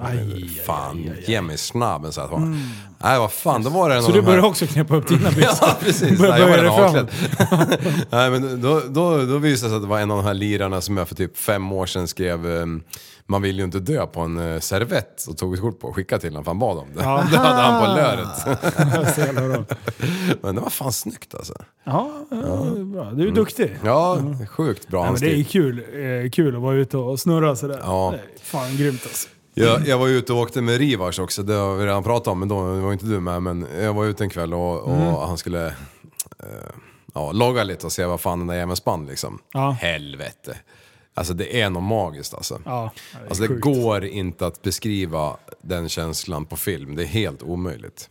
fan, ge mig snabben så att mm. Nej, vad fan, då var det en Så av du de här- började också knäppa upp dina byxor? Ja, precis. Börjar Nej, jag var böja redan dig avklädd. Nej, men då, då, då visade det sig att det var en av de här lirarna som jag för typ fem år sedan skrev ehm, man vill ju inte dö på en eh, servett och tog ett kort på och skickade till honom för han bad om det. det hade han på löret. men det var fan snyggt alltså. Ja, ja, det är bra. Du är duktig. Mm. Ja, sjukt bra Ja, men det är handstil. kul, eh, kul att vara ute och snurra sådär. Ja. Det är Fan grymt alltså. Jag, jag var ute och åkte med Rivars också, det har vi redan pratat om, men då var inte du med. Men jag var ute en kväll och, och han skulle eh, ja, logga lite och se vad fan den där jäveln spann liksom. Ja. Helvete. Alltså det är något magiskt alltså. Ja, det är alltså det sjukt. går inte att beskriva den känslan på film, det är helt omöjligt.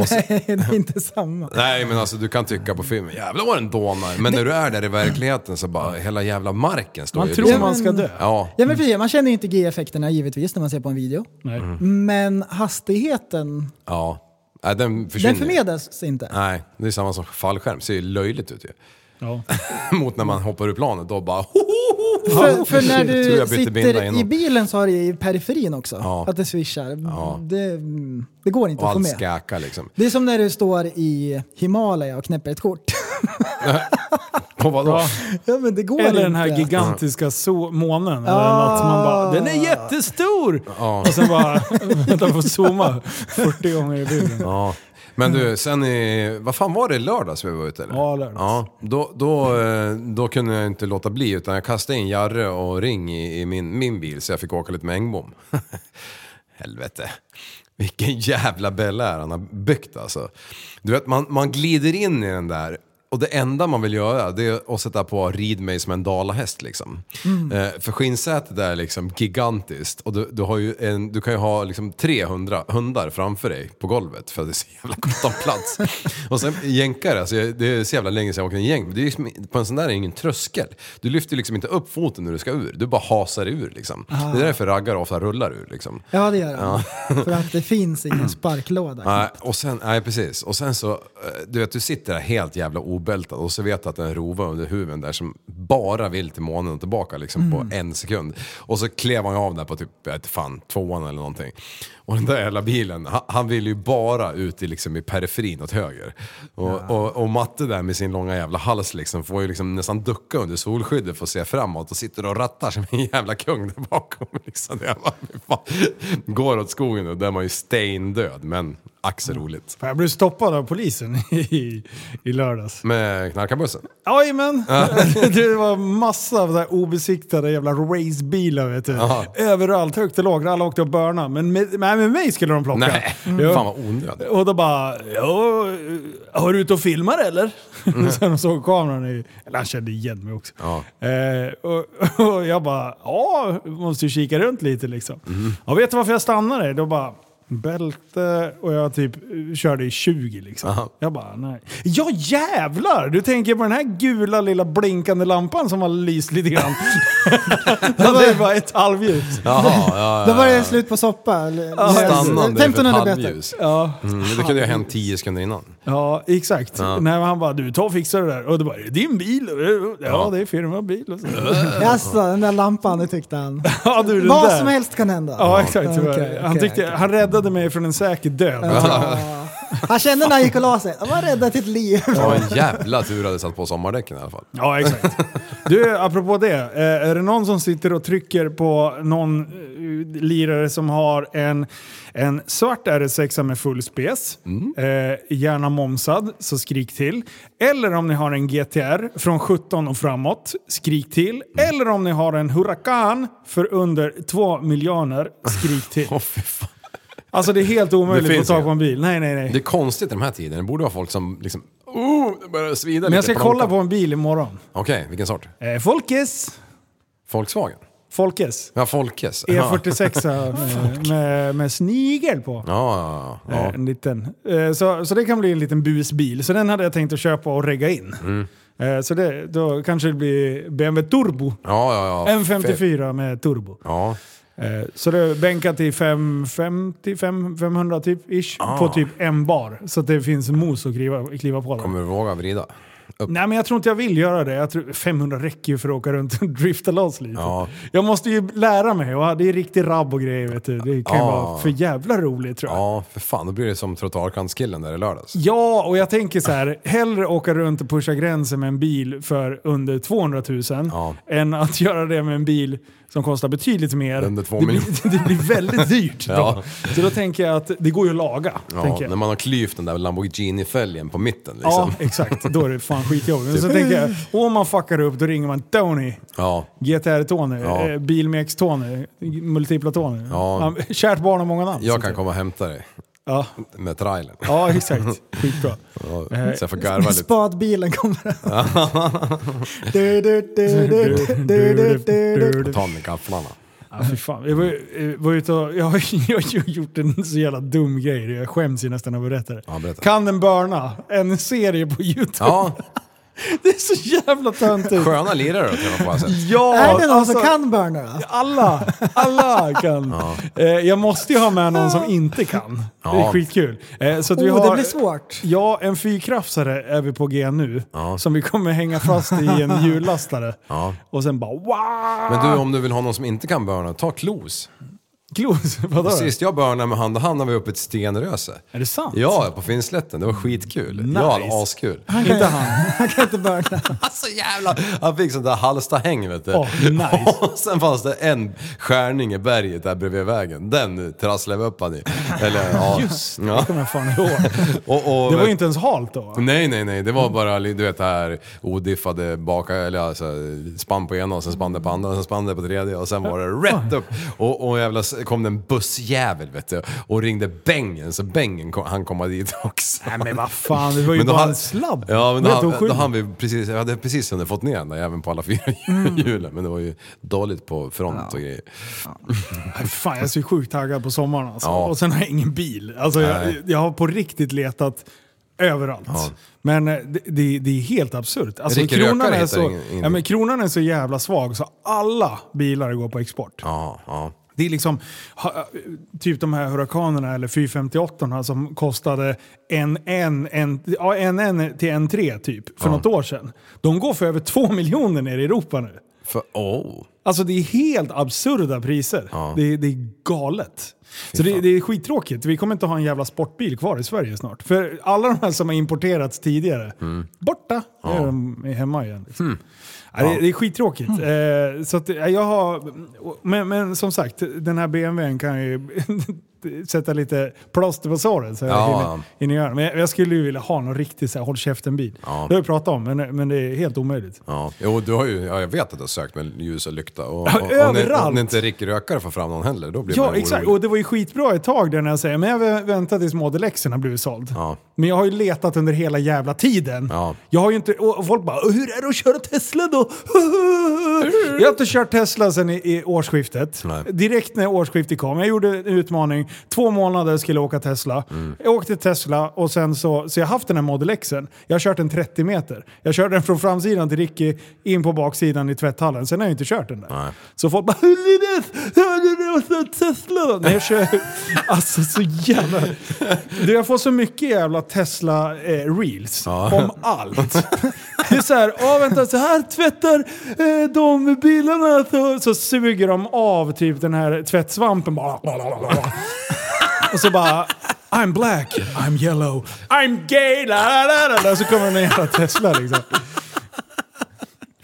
Och så, Nej, det är inte samma. nej men alltså du kan tycka på filmen, jävlar vad den dånar. Men när du är där i verkligheten så bara hela jävla marken står Man ju tror liksom- man ska dö. Ja, Ja, men precis, man känner ju inte G-effekterna givetvis när man ser på en video. Nej. Mm. Mm. Men hastigheten, ja. Nej, den försvinner. den förmedlas inte. Nej, det är samma som fallskärm. Ser ju löjligt ut ju. Ja. Mot när man hoppar ur planet, då bara hohoho! För, för när Shit, tror du jag bytte binda sitter i innan. bilen så har du i periferin också. Ja. Att det swishar. Det, det går inte Och att få allt med. skakar liksom. Det är som när du står i Himalaya och knäpper ett kort. Och vadå? ja, men det går Eller inte. den här gigantiska so- månen. Eller något. Man bara, den är jättestor! Ja. Och sen bara, vänta jag får zooma 40 gånger i bilden. Ja. Men du, sen i... Vad fan var det lördags vi var ute eller? Ja, lördags. Ja, då, då, eh, då kunde jag inte låta bli utan jag kastade in Jarre och Ring i, i min, min bil så jag fick åka lite med Engbom. Helvete. Vilken jävla bella han har byggt alltså. Du vet, man, man glider in i den där och det enda man vill göra det är att sätta på rid mig som en dalahäst liksom. Eh, för skinnsätet där är liksom gigantiskt och du, du, har ju en, du kan ju ha liksom 300 hundar framför dig på golvet för att det är så jävla gott om plats. och sen jänkare, alltså, jag- det är så jävla länge sedan jag åkte en jänk. men Det är liksom, på en sån där är det ingen tröskel. Du lyfter liksom inte upp foten när du ska ur, du bara hasar ur liksom. Det är därför raggare ofta rullar ur liksom. Ja, det gör han. För att det finns ingen sparklåda. Nej, och sen, nej, precis. Och sen så, eh, du vet, du sitter där helt jävla obältad och så vet du att det är en rova under huven där som bara vill till månen och tillbaka liksom, på en sekund. Och så klev han ju av där på typ, jag vet inte fan, tvåan eller någonting. Och den där jävla bilen, han, han vill ju bara ut i, liksom, i periferin åt höger. Och, och, och Matte där med sin långa jävla hals liksom, får ju liksom nästan ducka under solskyddet för att se framåt och sitter och rattar som en jävla kung där bakom. Liksom. Jag bara, fy fan. Går åt skogen och där är man ju stendöd. Men Ack så roligt. Fan, Jag blev stoppad av polisen i, i lördags. Med knarkarbussen. Jajamän! Det var massa av där obesiktade jävla racebilar vet du. Jaha. Överallt, högt och lågt. Alla åkte och börna. Men med, nej, med mig skulle de plocka. Mm. Nej, Mm. Ja. fan vad onödigt. Och då bara, ja, har du ute och filmar eller? Sen såg kameran, i, eller han kände igen mig också. Ja. Eh, och, och jag bara, ja, måste ju kika runt lite liksom. Ja, vet du varför jag stannade? Då bara, bälte och jag typ eh, körde i 20 liksom. Aha. Jag bara, nej. Ja jävlar! Du tänker på den här gula lilla blinkande lampan som har lyst lite grann. Den är bara ett halvljus. Jaha, ja, Då var ja. det slut på soppa. eller- Stannande för 15 ett eller bättre. halvljus. Ja. Mm, det kunde ju ha hänt tio sekunder innan. Ja, exakt. Ja. Nej, men han bara, du ta och fixa det där. Och då bara, är det din bil? Ja, det är firmabil. Och så. Jaså, den där lampan, det tyckte han. ja, du, den Vad där. som helst kan hända. Ja, exakt. så var det. Okej, han, okej, tyckte, okej. han räddade mig från en säker död. Ja. Han kände när han gick och la sig, han var rädd till ett liv. Det var en jävla tur att hade satt på sommardäcken i alla fall. Ja, exakt. Du, apropå det. eh, Är det någon som sitter och trycker på någon eh, lirare som har en, en svart RS6 med full spes, Mm. eh, gärna momsad, så skrik till. Eller om ni har en GTR från 17 och framåt, skrik till. Mm. Eller om ni har en Huracan för under 2 miljoner, skrik till. Åh, fy fan. Alltså det är helt omöjligt Det att få finns tag inget. på en bil. Nej, nej, nej. Det är konstigt i de här tiderna. Det borde vara folk som liksom... Oh, det börjar svida lite. Men jag ska kolla plånkan. på en bil imorgon. Okej, vilken sort? Eh, Folkes! Volkswagen? Folkes. Ja, E Folkes. E46 med, med, med snigel på. Ja, ja, Eh, ja. En liten. Eh, Så, så det kan bli en liten busbil. Så den hade jag tänkt att köpa och regga in. Mm. Eh, Så det, då kanske det blir BMW Turbo. ja, ja, ja. M54 med turbo. Ja. Eh, Så det är bänkat till 550, 5, 500 typ, ish, Ah. på typ en bar. Så att det finns mos att kliva, kliva på. Där. Kommer du våga vrida? Upp. Nej men jag tror inte jag vill göra det. Jag tror, 500 räcker ju för att åka runt och drifta loss lite. Ja. Jag måste ju lära mig och det är riktig rabb och grejer vet du. Det kan ju Ja. vara för jävla roligt tror jag. Ja. Ja, för fan. Då blir det som trottoarkantskillen där i lördags. och jag tänker så här, hellre åka runt och pusha gränsen med en bil för under 200 000 Ja. än att göra det med en bil som kostar betydligt mer. Under två det, blir, miljoner. det blir väldigt dyrt då. Ja. Så då tänker jag att det går ju att laga. Ja, tänker jag. när man har klyvt den där Lamborghini-fälgen på mitten Ja, liksom. Typ. Ja. exakt. Då är det fan skitjobbigt. Men så tänker jag, om man fuckar upp då ringer man Tony. ja. GTR-Tony, Ja. ja. Bilmex-Tony, multipla Tony. Ja. eh, Ja. Kärt barn har många namn. Jag så kan att- komma och hämta dig Ja, med trailern. ja exakt. Skitbra. Ja, Så jag får garva lite. Spatbilen kommer. Du, du, du, du, du, du, du, du. Och ta med gafflarna. Ja, fy fan. Jag var, eh, var ute och, jag, har- jag har ju gjort en så jävla dum grej. Jag skäms ju nästan att berätta det. Ja, berätta. Kan den börna? En serie på YouTube. Ja, Det är så jävla töntigt. sköna lirare att träffa på. Alltså. Ja, Är det någon som alltså, kan burna då? Alla, alla kan. Eh, jag måste ju ha med någon som inte kan. Det är Ja. skitkul. Eh, så att vi Oh, har, det blir svårt. Ja, en fyrkrafsare är vi på G nu. Som vi kommer hänga fast i en hjullastare. Ja. Och sen bara wow! Men du, om du vill ha någon som inte kan börna, ta Klos. Klos, vadå? Sist jag börnade med hand och hand när vi var uppe i ett stenröse. Är det sant? Ja, på Finnslätten. Det var skitkul. Nice. Ja, det var askul. Inte han. Kan inte burna. Alltså jävla... Han fick sånt där Halstahäng vet du. Åh, nice. Och sen fanns det en skärning i berget där bredvid vägen. Den trasslade vi upp han i. Eller ja. Just ja. Kommer jag fan ihåg. Och, och, Det var ju inte ens halt då. va? Nej, nej, nej. Det Mm. var bara, du vet det här odiffade baka, eller alltså, spann på ena och sen spann det på andra och sen spann det på tredje och sen var det rätt upp. Och, och jävla s- kom det en bussjävel vet du och ringde Bengen, så Bengen kom, han komma dit också. Nej men vad fan, det var ju då bara han- en sladd. Ja, men då, Helt han, då oskyldig. han vi precis, jag hade precis hunnit fått ner den där även på alla fyra Mm. hjulen. Men det var ju dåligt på front och grejer. Nej, Äh, Fan, jag är så sjukt taggad på sommaren alltså. Ja. Och sen har jag ingen bil. Alltså, jag, Nej. jag har på riktigt letat överallt. Men eh, det, det, det är helt absurt. Alltså, Ricky kronan, Rökare är hittar så, ingen- ingen ja, men bil. kronan är så jävla svag så alla bilar går på export. Ja, ja. Det är liksom ha, typ de här hurrakanerna eller 458 som kostade en, en, en, ja, en, en till en tre typ för något år sedan. De går för över två miljoner nere i Europa nu. För, oh. Alltså det är helt absurda priser. Det, är- det är galet. Så det, det är skittråkigt. Vi kommer inte ha en jävla sportbil kvar i Sverige snart. För alla de här som har importerats tidigare, Mm. borta! Nu är de hemma igen. Liksom. Hmm. Ja, det, det är skittråkigt. Eh, så att, eh, jag har, men, men som sagt, den här BMWn kan ju sätta lite plåster på såret. Så jag Ja. hinner, hinner göra. Men jag, jag skulle ju vilja ha någon riktig så här, håll käften-bil. Det har vi pratat om, men, men det är helt omöjligt. Ja. Jo, du har ju, ja, jag vet att du har sökt med ljus och lykta. Och, Ja, och, om, det, om överallt. det inte Rick Rökare får fram någon heller, då blir man Ja, orolig. exakt. Och det var ju skitbra ett tag där när jag säger men jag vä- väntar tills Model X har blivit såld. Ja. Men jag har ju letat under hela jävla tiden. Ja. Jag har ju inte, och och folk bara "Och “Hur är det att köra Tesla då?” Jag har inte kört Tesla sedan i, i årsskiftet. Nej. Direkt när årsskiftet kom. Jag gjorde en utmaning. Två månader skulle jag åka Tesla. Mm. Jag åkte Tesla och sen så, så jag har haft den här Model Xen. Jag har kört den 30 meter. Jag körde den från framsidan till Ricky, in på baksidan i tvätthallen. Sen har jag inte kört den där. Nej. Så folk bara “Hörde du hörde du det? Tesla då?” Nej, jag kör... Alltså så jävla... Du, jag får så mycket jävla Tesla-reels om allt. Det är så här, ja vänta, så här tvättar eh, de bilarna. Så, så suger de av typ den här tvättsvampen bara. Och så bara, I'm black, I'm yellow, I'm gay, la la la la. Så kommer den jävla Tesla liksom.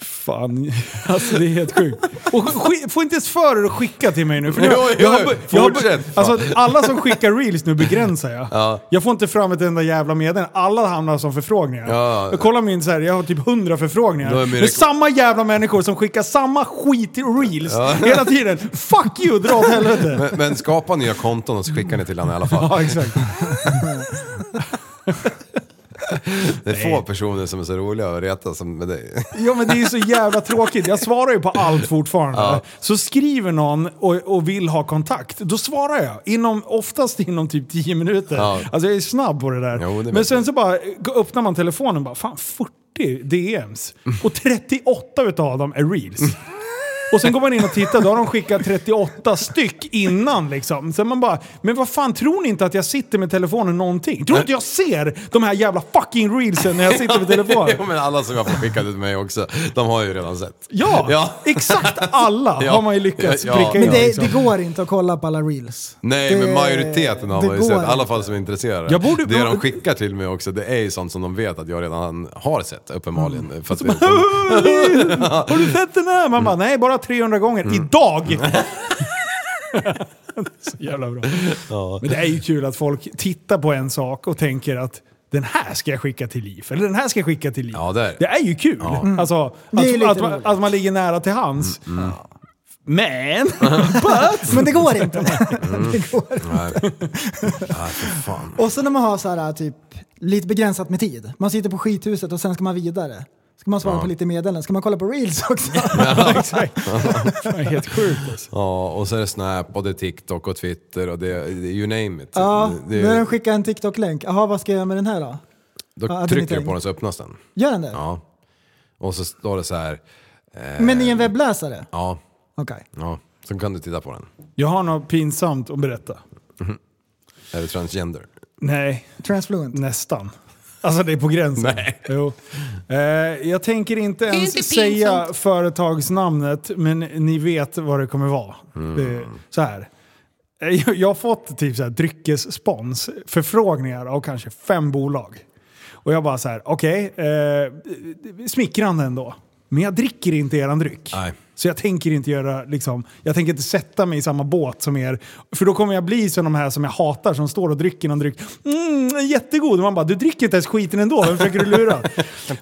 Fan, alltså det är helt sjukt. Och sk- få inte ens för er att skicka till mig nu. För nu Jo, jo, har bör- har bör- fortsätt. alltså, alla som skickar reels nu begränsar jag. Jag får inte fram ett enda jävla meddelande. Alla hamnar som förfrågningar. Ja. Jag kollar min så här, jag har typ hundra förfrågningar. Då är min Det är reko- samma jävla människor som skickar samma skit i reels hela tiden. Fuck you, dra åt helvete. Men, men skapa nya konton och så skickar ni till honom i alla fall. Ja, exakt. Det är få personer som är så roliga att reta som med dig. Ja men det är ju så jävla tråkigt. Jag svarar ju på allt fortfarande. Så skriver någon och, och vill ha kontakt, då svarar jag. Inom, oftast inom typ 10 minuter. Ja. Alltså jag är snabb på det där. Jo, det vet men sen jag. så bara gå- öppnar man telefonen och bara, fan 40 DMs. Och 38 utav dem är reels. Och sen går man in och tittar, då har de skickat 38 styck innan liksom. Sen man bara, men vad fan tror ni inte att jag sitter med telefonen någonting? Tror ni inte jag ser de här jävla fucking reelsen när jag sitter med telefonen? Jo, men alla som jag får skicka till mig också, de har ju redan sett. Ja, Ja. exakt alla Ja. har man ju lyckats Ja, ja. pricka in. Men det, liksom. det går inte att kolla på alla reels. Nej, det, men majoriteten har det man ju går sett. I alla inte. fall som är intresserade. Jag borde- det de skickar till mig också, det är ju sånt som de vet att jag redan har sett, uppenbarligen. Mm. För att vi, Har du sett den här? Man bara, nej bara 300 gånger. Mm. Idag! Så jävla bra. Men det är ju kul att folk tittar på en sak och tänker att den här ska jag skicka till liv. Eller den här ska jag skicka till liv. Ja, det är det. det är ju kul. Alltså, att, Det är lite att, man, roligt. att man ligger nära till hans. Mm, Men... Men det går inte. det går inte. fan. Och sen när man har så här, typ, lite begränsat med tid. Man sitter på skithuset och sen ska man vidare. Ska man svara på lite meddelanden? Ska man kolla på reels också? ja, exakt. Fan, helt sjukt alltså. Ja, och så är det Snap och det är TikTok och Twitter och det, det you name it. ja, det, nu har den skickat en TikTok-länk. Jaha, vad ska jag göra med den här då? då trycker ja, du admittering. på den så öppnas den. Gör den det? Ja. Och så står det så här, Men i en webbläsare? ja, Okej. ja. Så kan du titta på den. Jag har något pinsamt att berätta. Är du transgender? Nej, Transfluent. Mm. Nästan. Alltså det är på gränsen. Nej. Jo. Eh, jag tänker inte ens säga företagsnamnet, men ni vet vad det kommer vara. Det, Mm. så här. Eh, jag- Jag har fått typ så här dryckesspons, förfrågningar av kanske fem bolag. Och jag bara så här, okej, eh, smickrande ändå. Men jag dricker inte eran dryck. Nej. Så jag tänker inte göra, liksom, jag tänker inte sätta mig i samma båt som er. För då kommer jag bli som de här som jag hatar som står och dricker någon dryck. Mm, jättegod! Och Man bara, du dricker inte ens skiten ändå, vem försöker du lura?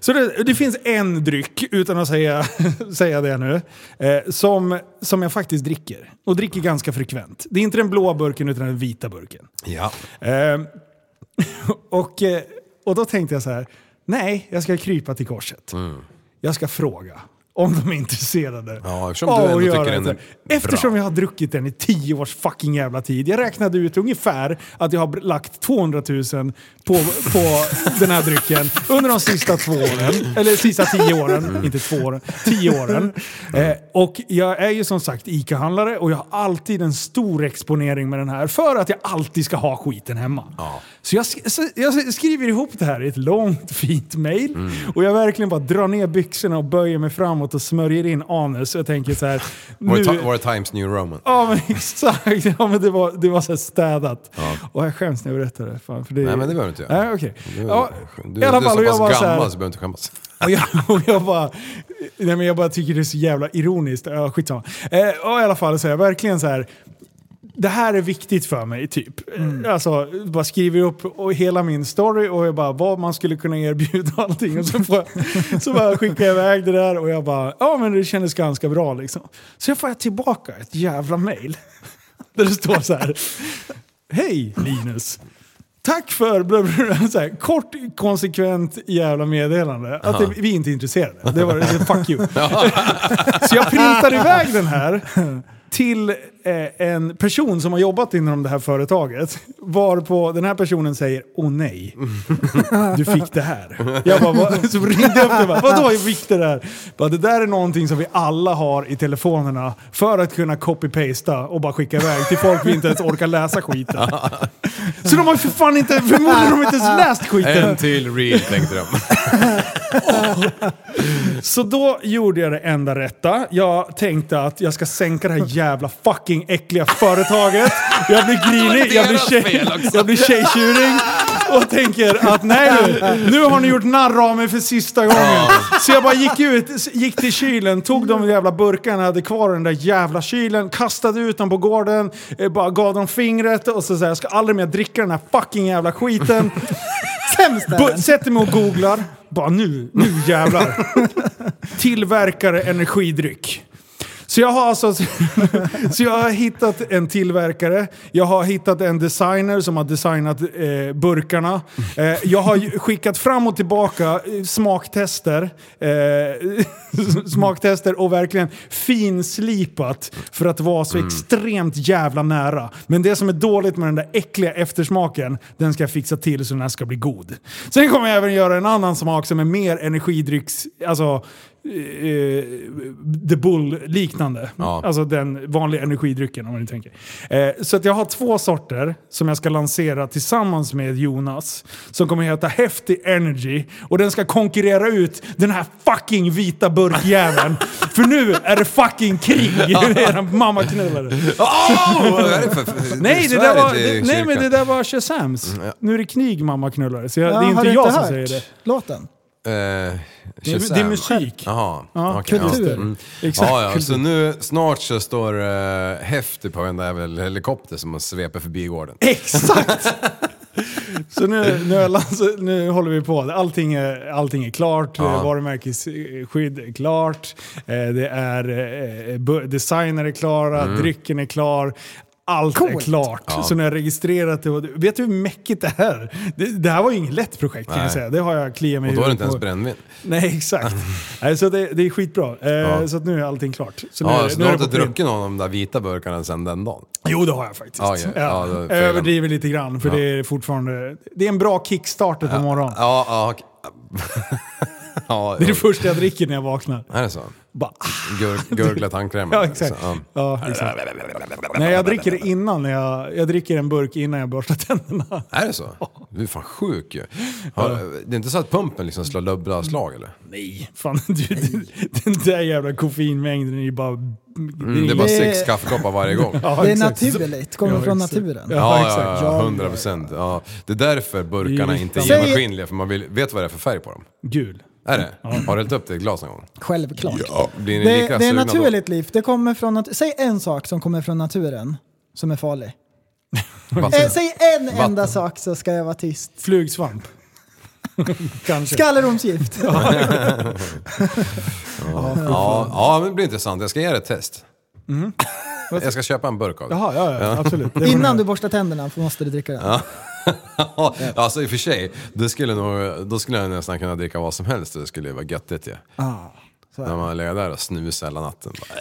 Så det, det finns en dryck, utan att säga, säga det nu, eh, som, som jag faktiskt dricker. Och dricker ganska frekvent. Det är inte den blåa burken utan den vita burken. Ja. Ehm, och, eh, och då tänkte jag så här, nej, jag ska krypa till korset. Mm. Jag ska fråga om de är intresserade. Ja, eftersom du av att ändå göra tycker den är det. Eftersom bra. jag har druckit den i tio års fucking jävla tid. Jag räknade ut ungefär att jag har br- lagt 200 000 på, på den här drycken under de sista två åren. Eller sista tio åren, inte två åren. Tio åren. Eh, och jag är ju som sagt ICA-handlare och jag har alltid en stor exponering med den här för att jag alltid ska ha skiten hemma. Så, jag, sk- så jag skriver ihop det här i ett långt fint mail och jag verkligen bara drar ner byxorna och böjer mig fram och framåt och smörjer in anus. Jag tänker så här... Var nu- det, ti- var det Times New Roman? Ja men exakt, ja, men det var, det var så här städat. Och jag skäms när jag berättar det. Fan, för det Nej, men det behöver du inte göra. Nej, okej. Du, Ja, du, i alla du är fall, så och jag pass var gammal så så, här- behöver du inte skämmas. Och jag, och jag bara... Nej men jag bara tycker det är så jävla ironiskt. Ja, skitsamma. Eh, och i alla fall så är jag verkligen så här... Det här är viktigt för mig, typ. Mm. Alltså, bara skriver upp och hela min story och jag bara vad man skulle kunna erbjuda och allting. Och så, får jag, så bara skickar jag iväg det där och jag bara, ja men det kändes ganska bra liksom. Så får jag tillbaka ett jävla mail. Där det står så här. Hej Linus! Tack för bla bla bla, så här, kort, konsekvent jävla meddelande. Att det, vi är inte intresserade. Det var det, fuck you. så jag printar iväg den här till eh, en person som har jobbat inom det här företaget. Varpå den här personen säger åh nej, du fick det här. Jag bara, "Va?" så ringde jag upp det och bara, vadå jag fick det där? Bara, det där är någonting som vi alla har i telefonerna för att kunna copy-pasta och bara skicka iväg till folk vi inte ens orkar läsa skiten. Så de har ju för fan inte, förmodligen har de inte ens läst skiten. En till reel tänkte de. Så då gjorde jag det enda rätta. Jag tänkte att jag ska sänka det här jävla fucking äckliga företaget. Jag blir grinig, jag blir, tjej, jag blir tjejtjuring. Och tänker att nej nu, nu har ni gjort narr av mig för sista gången. Så jag bara gick ut, gick till kylen, tog de jävla burkarna jag hade kvar i den där jävla kylen, kastade ut dem på gården, eh, bara gav dem fingret och så sa jag, jag ska aldrig mer dricka den här fucking jävla skiten. Sämst är Bu- den. sätter mig och googlar. Bara nu, nu jävlar. Tillverkare energidryck. Så jag har alltså så jag har hittat en tillverkare, jag har hittat en designer som har designat eh, burkarna. Eh, jag har ju skickat fram och tillbaka eh, smaktester, eh, smaktester och verkligen finslipat för att vara så extremt jävla nära. Men det som är dåligt med den där äckliga eftersmaken, den ska jag fixa till så den här ska bli god. Sen kommer jag även göra en annan smak som är mer energidrycks... Alltså, eh, The Bull-liknande. Ja. Alltså den vanliga energidrycken om man tänker. Eh, så att jag har två sorter som jag ska lansera tillsammans med Jonas. Som kommer heta Hefty Energy. Och den ska konkurrera ut den här fucking vita burkjäveln. För nu är det fucking krig! Era mammaknullare. Åh! Vad är det för- för... Nej, det svär där var, inte i det, nej kyrkan. men det där var Shazams. Nu är det krig mammaknullare. Så jag, Ja, det är har inte du jag som hört säger det. Låten. Eh, Det är, det är musik. Jaha, Ja, okej, ja. kultur. Mm. Exakt, Ja, ja, kultur. så nu snart så står uh, Häftig på en jävel helikopter som sveper förbi gården. Exakt! Så nu, nu, är lands- nu håller vi på. Allting är, allting är klart. Ja. Ja. Varumärkesskydd är klart. Eh, Det är, eh, bu- designer är klara, Mm. drycken är klar. Allt är Coolt. klart. Så nu har jag registrerat det. och- Vet du hur mäckigt det här Det, det här var ju inget lätt projekt kan Nej. jag säga. Det har jag kliat mig Och då är det inte huvudet ens på. brännvin. Nej, exakt. Nej, så det, det är skitbra. Eh, Ja. Så att nu är allting klart. Så nu, Ja, är- så nu du har är det inte på print. druckit någon av de där vita burkarna sedan den dagen? Jo, det har jag faktiskt. Ja, ja. Ja, då är det jag fel. överdriver lite grann, för Ja. det är fortfarande... Det är en bra kickstarter på morgonen. Ja, ja, okej. ja, Det är det första jag dricker när jag vaknar. Är det så? Bara, ah, Gur, gurgla tandkrämen. ja, exakt. Så, ja. Ja, exakt. Nej, jag dricker det innan. när Jag, jag dricker en burk innan jag borstar tänderna. Är det så? Du är fan sjuk ju. Har, Det är inte så att pumpen liksom slår dubbla slag eller? Nej. Fan, du, den, den där jävla koffeinmängden är ju bara... Mm, det är bara Det- sex kaffekoppar varje gång. Ja, Ja, Det är exakt. naturligt, kommer Ja, från exakt. naturen. Ja, ja, exakt. ja, hundra procent. Ja. Det är därför burkarna Det är inte är riktigt. genomskinliga, för man vill, vet vad det är för färg på dem. Gul. Är det? Har du hällt upp det i ett glas någon gång? Självklart. Blir ni Det, lika det är sugna naturligt liv. Det kommer från nat- Säg en sak som kommer från naturen som är farlig. då? Eh, Vatten. säg en enda sak så ska jag vara tyst. Flugsvamp. Kanske. Skalleromsgift. Ja, ja, men det blir intressant. Jag ska ge er ett test. Jag ska köpa en burk av det. Jaha, ja, ja, absolut. Det får Innan ni- du borstar tänderna måste du dricka den. Ja, alltså i och för sig, det skulle nog, då skulle jag nästan kunna dricka vad som helst och det skulle ju vara göttigt ju. så är När man ligger där och snusar hela natten. Bara,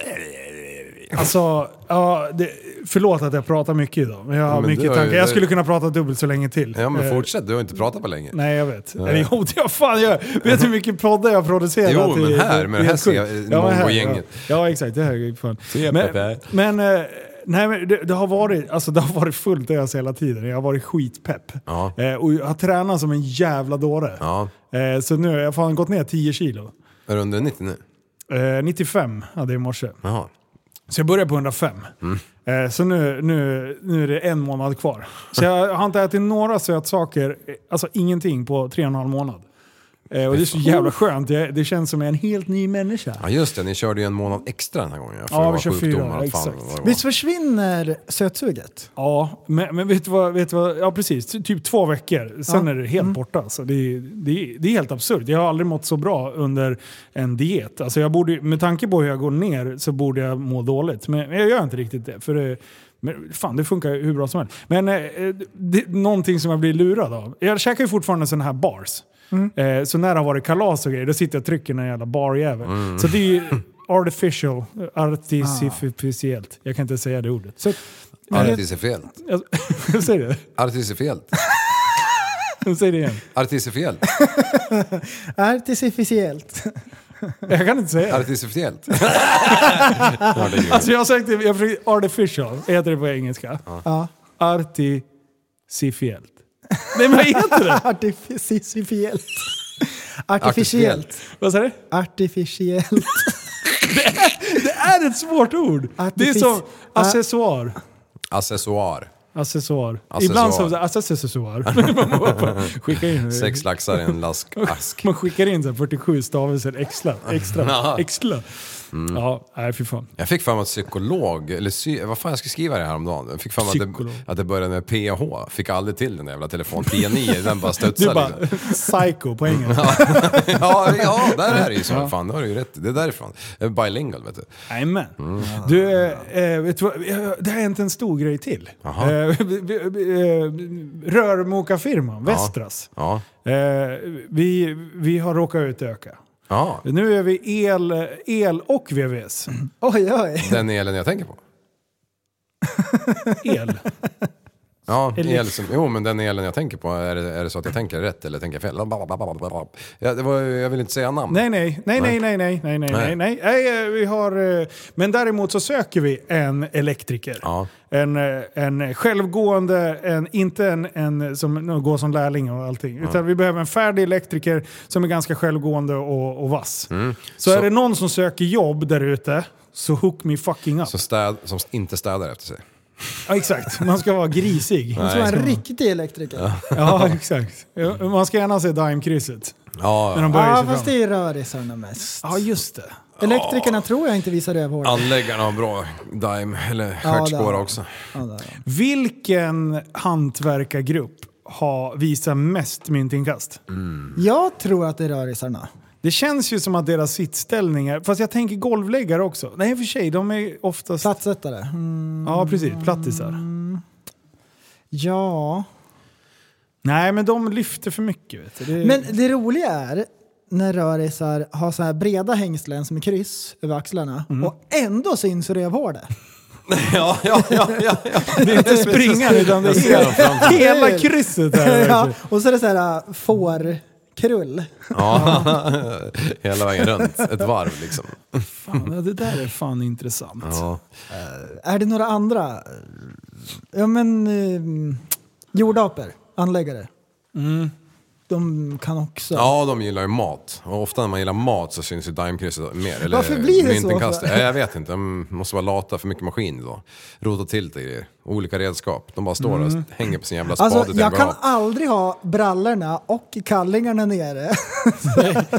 Alltså, ja, det, förlåt att jag pratar mycket idag, men jag har Men du mycket har ju- tankar. Jag skulle kunna prata dubbelt så länge till. Ja men Eh, fortsätt, du har inte pratat på länge. Nej, jag vet. Eller jo, det har fan jag. Vet du hur mycket poddar jag har producerat? Jo, men Det- här, det- med det här helt sjukt. ser jag, Ja, men här, mongo-gänget. Ja. ja, exakt. Det här är ju fan. Se, Men, Pepe. men, eh, nej, men det, det, har varit, alltså, det har varit fullt ös hela tiden. Jag har varit skitpepp. Ja. Eh, och jag har tränat som en jävla dåre. Ja. Eh, så nu har jag fan gått ner 10 kilo. Är du under 90 nu? Eh, 95 hade jag i morse. Jaha. Så jag började på 105. Eh, så nu, nu, nu är det en månad kvar. Så jag har inte ätit några sötsaker, eh, alltså ingenting, på tre och en halv månad. Eh, och det är så jävla skönt. Jag, det känns som jag är en helt ny människa. Ja just det, ni körde ju en månad extra den här gången. För Ja, det vi var kör fyra, sjukdomar, allt fan exakt. vad det var. Visst försvinner sötsuget? Ja, men, men vet, du vad, vet du vad? Ja, precis. Ty- Typ två veckor. Sen är det helt borta. Alltså, det, är- det, är- det är helt absurt. Jag har aldrig mått så bra under en diet. Alltså, jag borde, med tanke på hur jag går ner så borde jag må dåligt. Men jag gör inte riktigt det. För det men fan, det funkar ju hur bra som helst. Men eh, eh, det, någonting som jag blir lurad av. Jag käkar ju fortfarande sådana här bars. Eh, så när det har varit kalas och grejer, då sitter jag och trycker någon jävla barjävel. Så det är ju artificial, artificiellt. Jag kan inte säga det ordet. Så, Artificiellt. jag säger det. Artificiellt. Säg det igen. Artificiellt. Artificiellt. Jag kan inte säga det. Artificiellt. Alltså jag sökte, jag försökte, artificial heter det på engelska. Ja. Artificiellt. Nej men vad heter det? Artificiellt. Artificiellt. Vad sa du? Artificiellt. Det är ett svårt ord. Det är Artific- som accessoar. Accessoar. Accessoar. Accessoar. Ibland så, alltså, accessoar. Man bara skickar in, Sex laxar i en lask ask. man skickar in så här 47 stavelser extra. Extra. extra. Mm. Ja, nej fy fan. Jag fick för mig att psykolog, eller psy, vad fan jag skulle skriva det här om dagen. Jag fick för mig att Psykolog. det, att det började med PH. Fick aldrig till den där jävla telefon. P9, den bara Du studsade bara, liksom. psycho på engelska. ja, ja, där är det ju så. Fan, det har du ju rätt i. Det är därifrån. Eh, Bilingual, vet du. Jajamän. Mm. Du, eh, vet du vad? Eh, det här är inte en stor grej till. Jaha. Eh, vi- vi- eh, Rörmokarfirman, Västras. Ja. Eh, vi, vi har råkat utöka. Ja, Nu är vi el, el och VVS. Oj, oj. den elen jag tänker på. El. Ja, el som, jo men den elen jag tänker på, är det, är det så att jag tänker rätt eller tänker jag fel? Blablabla. Ja, det var, ju- jag vill inte säga namn. Nej, nej, nej, nej, nej, nej, nej, nej, nej, Nej. nej. nej eh, vi har, eh, men däremot så söker vi en elektriker. Ja. En, eh, en självgående, en, inte en, en som no, går som lärling och allting. Utan vi behöver en färdig elektriker som är ganska självgående och, och vass. Så, Så- är det någon som söker jobb där ute, så hook me fucking up. Som, städ, som inte städar efter sig. Ja, exakt, man ska vara grisig. Som en riktig elektriker. Ja, Ja, exakt. Ja, Man ska gärna se Dime-krysset. Ja, När de böjer ah, sig fast fram. det är rörisarna mest. Ja, just det. Elektrikerna tror jag inte visar rövhål. anläggarna har bra dime, eller Ja, stjärtspår det- också. Ja, där, ja. Vilken hantverkargrupp har, visar mest myntinkast? Jag tror att det är rörisarna. Det känns ju som att deras sittställningar, fast jag tänker golvläggare också. Nej i och för sig, de är oftast... Plattsättare. Mm. Ja precis, plattisar. Ja. Nej men de lyfter för mycket vet du. Det, Men det roliga är när rörisar har så här breda hängslen som är kryss över axlarna och ändå syns rövhålet. Ja, ja, ja, ja, ja. det är inte springan utan det ser dem är hela krysset här. ja, och så är det så här äh, fårkrull. ja. Hela vägen runt, ett varv liksom. Fan, ja, det där är fan intressant. Ja. Är det några andra? eh, Ja men eh, jordaper, anläggare. De kan också. Ja, de gillar ju mat. Och ofta när man gillar mat så syns ju dimekrysset mer. Eller Varför blir det så? myntinkastet. Ja, Jag vet inte, de måste vara lata, för mycket maskin då. Rota till det grejer. Olika redskap. De bara står där och hänger på sin jävla spade. Mm. Alltså till jag en kan grav. aldrig ha brallorna och kallingarna nere.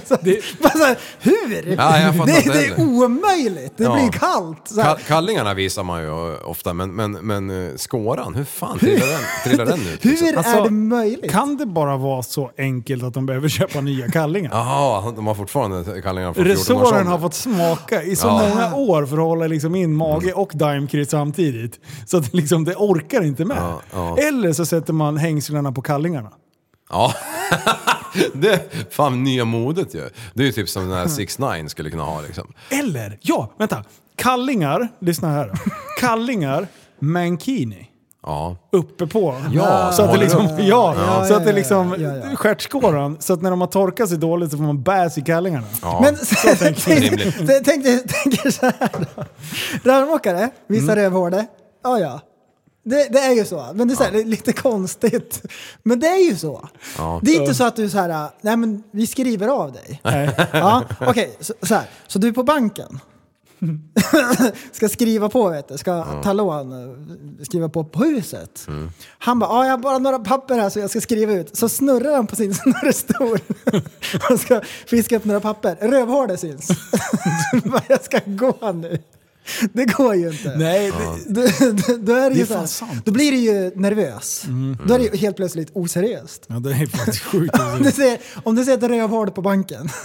så, bara så här, hur? Ja, jag fattar det, inte det är heller. omöjligt, det Ja. blir kallt. Så här, Ka- Kallingarna visar man ju ofta, men, men, men eh, skåran, hur fan trillar den, trillar den ut? liksom? hur Alltså, är det möjligt? Kan det bara vara så enkelt att de behöver köpa nya kallingar? Jaha, de har fortfarande kallingarna från 14 års Resåren ålder. har fått smaka i så Ja. Mm. många år för att hålla liksom in mage och dimekryss samtidigt. Så att liksom det orkar inte med. Ja, ja. Eller så sätter man hängslena på kallingarna. Ja. Det, fan, nya modet ju. Det är ju typ som den Mm. här 6 9 skulle kunna ha liksom. Eller, ja, vänta. Kallingar, lyssna här. Kallingar, mankini. Ja. Uppe på. Ja, så att det håller liksom, upp. ja, Ja, så att det ja, ja, liksom ja, ja. stjärtskåran. Så att när de har torkat sig dåligt så får man bäs i kallingarna. ja. Men Rimligt. tänk, tänk, tänk, tänk er så här. då. Rörmokare, vissa rövhåle. Ja, ja. Det, det är ju så, men det är, så här, det är lite konstigt. Men det är ju så. Det är inte så att du så här, nej men vi skriver av dig. Ja, Okej, så, så här. Så du är på banken. ska skriva på vet du, ska ta lån, eh, skriva på på huset. Han bara, ja jag har bara några papper här så jag ska skriva ut. Så snurrar han på sin snurrstol. Han ska fiska upp några papper. Rövhålet syns. Så bara, jag ska gå nu. Det går ju inte. Nej, Då, då, då, är det Det ju är så fan här, sant. Mm. då blir det ju nervös. Då är det ju helt plötsligt oseriöst. Ja, det är faktiskt sjukt. Om du ser, om du ser ett rövhål på banken.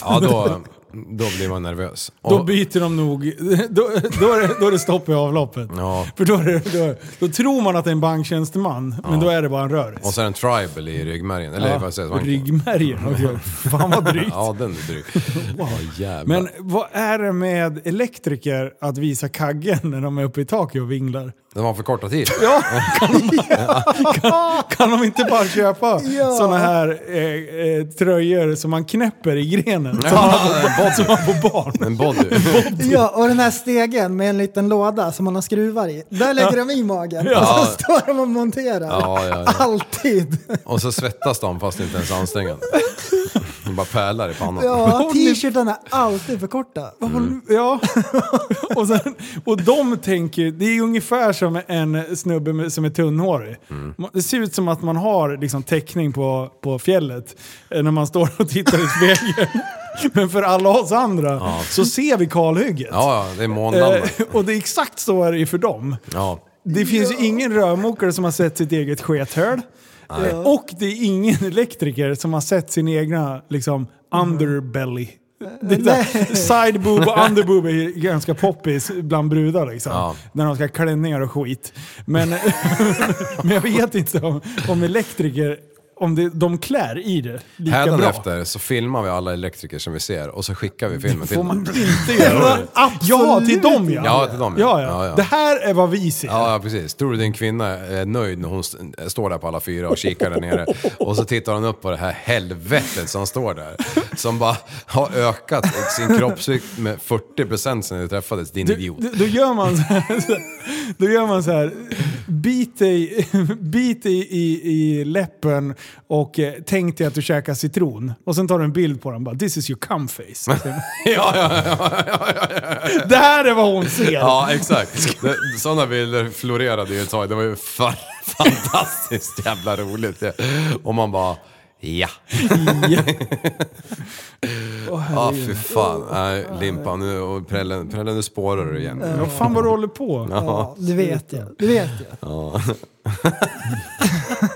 Ja, då, då blir man nervös. Då Och- byter de nog... Då, då, är, det, då är det stopp i avloppet. Ja. För då, är det, då, då tror man att det är en banktjänsteman, men då är det bara en röris. Och så är det en tribal i ryggmärgen. Eller vad säger jag? Ryggmärgen. också. Fan vad drygt. Ja, den är dryg. Ja, jävlar. Men vad är det med elektriker att visa kaggen när de är uppe i taket och vinglar? Den var för korta tid. Kan de inte bara köpa Ja. sådana här eh, eh, tröjor som man knäpper i grenen? Som man, Ja, en som body. man får barn. En body. Ja, och den här stegen med en liten låda som man har skruvar i. Där lägger de i magen och så står de och monterar. Ja, ja, ja. Alltid. Och så svettas de fast inte ens ansträngande. De bara pärlar i pannan. Ja, t-shirten är alltid för korta. Mm. Ja, och, sen, och de tänker, det är ungefär som en snubbe med, som är tunnhårig. Mm. Det ser ut som att man har liksom, täckning på, på fjället eh, när man står och tittar i spegeln. Men för alla oss andra så ser vi kalhygget. Ja, ja, det är månlandet. Eh, och det är exakt så är det ju för dem. Ja. Det finns ju ingen rörmokare som har sett sitt eget skethöl. Eh, Och det är ingen elektriker som har sett sin egna liksom, underbelly. Det är där, side boob och underboob är ganska poppis bland brudar liksom. Ja. När de ska ha klänningar och skit. Men, men jag vet inte om, om elektriker, om det, de klär i det lika bra. Hädanefter så filmar vi alla elektriker som vi ser och så skickar vi filmen till Får man dem. inte göra det? Ja, till dem ja! Ja, till dem, ja. ja. Ja, Ja, ja. Det här är vad vi ser. Ja, ja, precis. Tror du din kvinna är nöjd när hon st- står där på alla fyra och kikar där nere? Och så tittar hon upp på det här helvetet som står där. Som bara har ökat sin kroppsvikt med 40% sedan ni träffades, din idiot. Då, då gör man så här, då gör man så här bit dig, bit dig i, i läppen och eh, tänk dig att du käkar citron. Och sen tar du en bild på den bara “This is your cum face”. Ja, ja, ja, ja, ja, ja. det här är vad hon ser! ja exakt. Det- Sådana bilder florerade ju ett tag. Det var ju fan, fantastiskt jävla roligt. Och man bara, ja. Ja, fy fan. Nej, limpa nu och prällen, prällen nu spårar du igen. Vad fan vad du håller på? Ja, det vet jag. Det vet jag.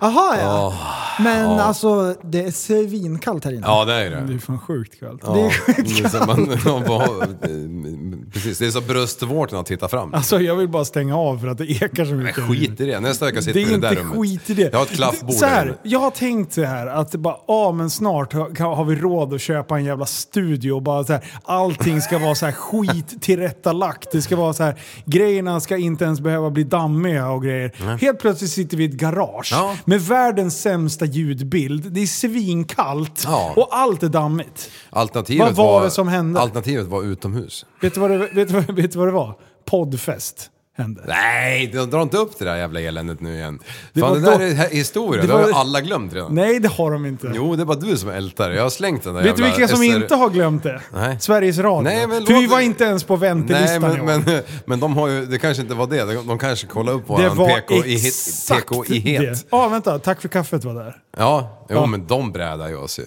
Jaha ja. Men alltså det är svinkallt här inne. Ja, det är det. Det är fan sjukt kallt. Ja, det är så man, man bara- precis, det är så bröstvårtorna tittar fram. Alltså jag vill bara stänga av för att det ekar så mycket. Skit i det. Nästa vecka Det sitter vi är i det inte där rummet. skit i det. Jag har ett klaffbord Så där här, inne. jag har tänkt så här att det bara, ah, men snart har, kan- har vi råd att köpa en jävla studio och bara så här, allting ska vara så här skit tillrättalagt. Det ska vara så här, grejerna ska inte ens behöva bli dammiga och grejer. Helt plötsligt sitter vi i ett garage Ja. med världens sämsta ljudbild. Det är svinkallt Ja. och allt är dammigt. Alternativet Vad var det som hände? Alternativet var utomhus. Vet du vad det, vet, du vad- vet du vad det var? Poddfest hände. Nej, de drar inte upp det där jävla eländet nu igen. Det Det Fan, var det där då- är he- historia. det Det, har var- ju alla glömt redan. Nej, det har de inte. Jo, det är bara du som ältar det. Jag har slängt den där Vet du jävla vilka som SR inte har glömt det? Nej. Sveriges Radio. Nej, men För låt- vi var inte ens på Nej, väntelistan i men, år. men, men de har ju, det kanske inte var det. De, de kanske kollade upp det våran var PK-ihet. exakt PK det. Ja, vänta. Tack för kaffet var där. ja, jo, Ja. men de brädar ju oss ju.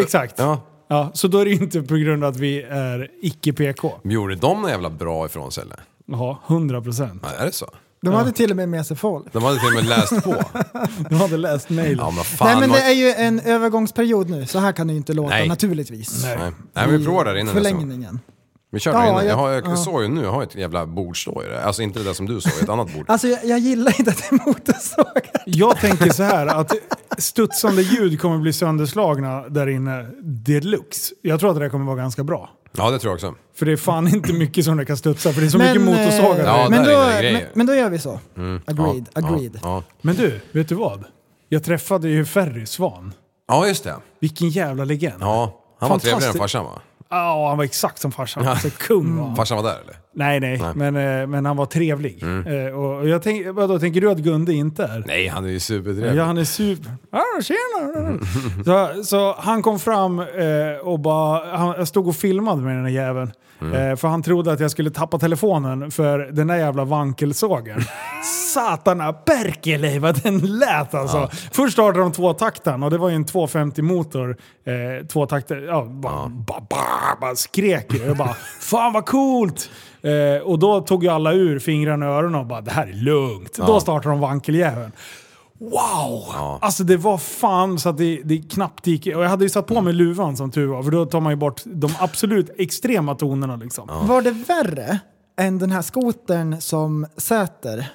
Exakt. Ja. Ja, så då är det inte på grund av att vi är icke-PK. Gjorde de något jävla bra ifrån sig eller? Jaha, 100 procent. Ja, är det så? De hade till och med med sig folk. De hade till och med läst på. Du hade läst mejlen. Ja, men fan. Nej men det vad- är ju en övergångsperiod nu, så här kan det ju inte låta Nej. naturligtvis. Nej. Nej, men vi provar där inne nästa gång. Förlängningen. Vi kör där Ja, inne. Jag, jag- har, jag ja. såg ju nu, jag har ett jävla bord står ju där. Alltså inte det där som du såg, ett annat bord. Alltså jag, jag gillar inte att det är motorsågar. Jag tänker så här att studsande ljud kommer bli sönderslagna där inne deluxe. Jag tror att det här kommer vara ganska bra. Ja, det tror jag också. För det är fan inte mycket som det kan studsa, för det är så mycket motorsågar. eh, där inne. Ja, men, där då, är det grejer. Mm. men, men då gör vi så. Agreed, ja, agreed. Ja, Men du, vet du vad? Jag träffade ju Ferry Svan. ja just det. Vilken jävla legend. Ja, han var Fantastiskt. trevligare än farsan va? Ja, han var exakt som farsan. Alltså, kung var han. Farsan var där eller? Nej, nej, Nej. Men, eh, men han var trevlig. Eh, och jag tänk, vadå, tänker du att Gunde inte är? Nej, han är ju supertrevlig. Ja, han är super... Ah, tjena! Så, så han kom fram eh, och bara... Han, jag stod och filmade med den här jäveln. Eh, för han trodde att jag skulle tappa telefonen för den där jävla vankelsågen. Satana Berkeley vad den lät alltså! Först startade de tvåtakten och det var ju en 250-motor. Eh, tvåtakter, ja, bara, bara, bara, bara skrek ju. Jag bara “Fan vad coolt!” eh, Och då tog ju alla ur fingrarna och öronen och bara “Det här är lugnt”. Då startade de vankeljäveln. Wow! Alltså det var fan så att det, det knappt gick... Och jag hade ju satt på mig luvan som tur var, för då tar man ju bort de absolut extrema tonerna liksom. Ja, Var det värre än den här skotern som Säter?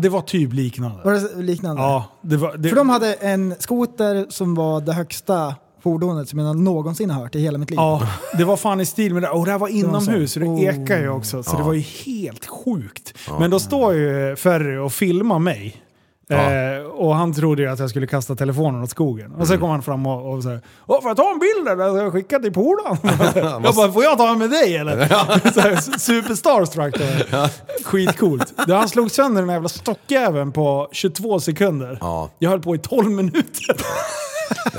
det var typ liknande. Var det liknande? Ja, det var... Det, För de hade en skoter som var det högsta fordonet som jag någonsin har hört i hela mitt liv. Ja, det var fan i stil med det. Och det här var var så. inomhus, så det Oh. ekar ju också. Så det var ju helt sjukt. Men då står ju Ferry och filmar mig. Eh, och han trodde ju att jag skulle kasta telefonen åt skogen. Och sen kom han fram och, och så här, Åh, får jag ta en bild eller? Jag skickar till polaren. jag bara, får jag ta en med dig eller? så här, superstarstruck. då. Skitcoolt. Då Han slog sönder den här jävla stockjäveln på 22 sekunder. Ja. Jag höll på i 12 minuter.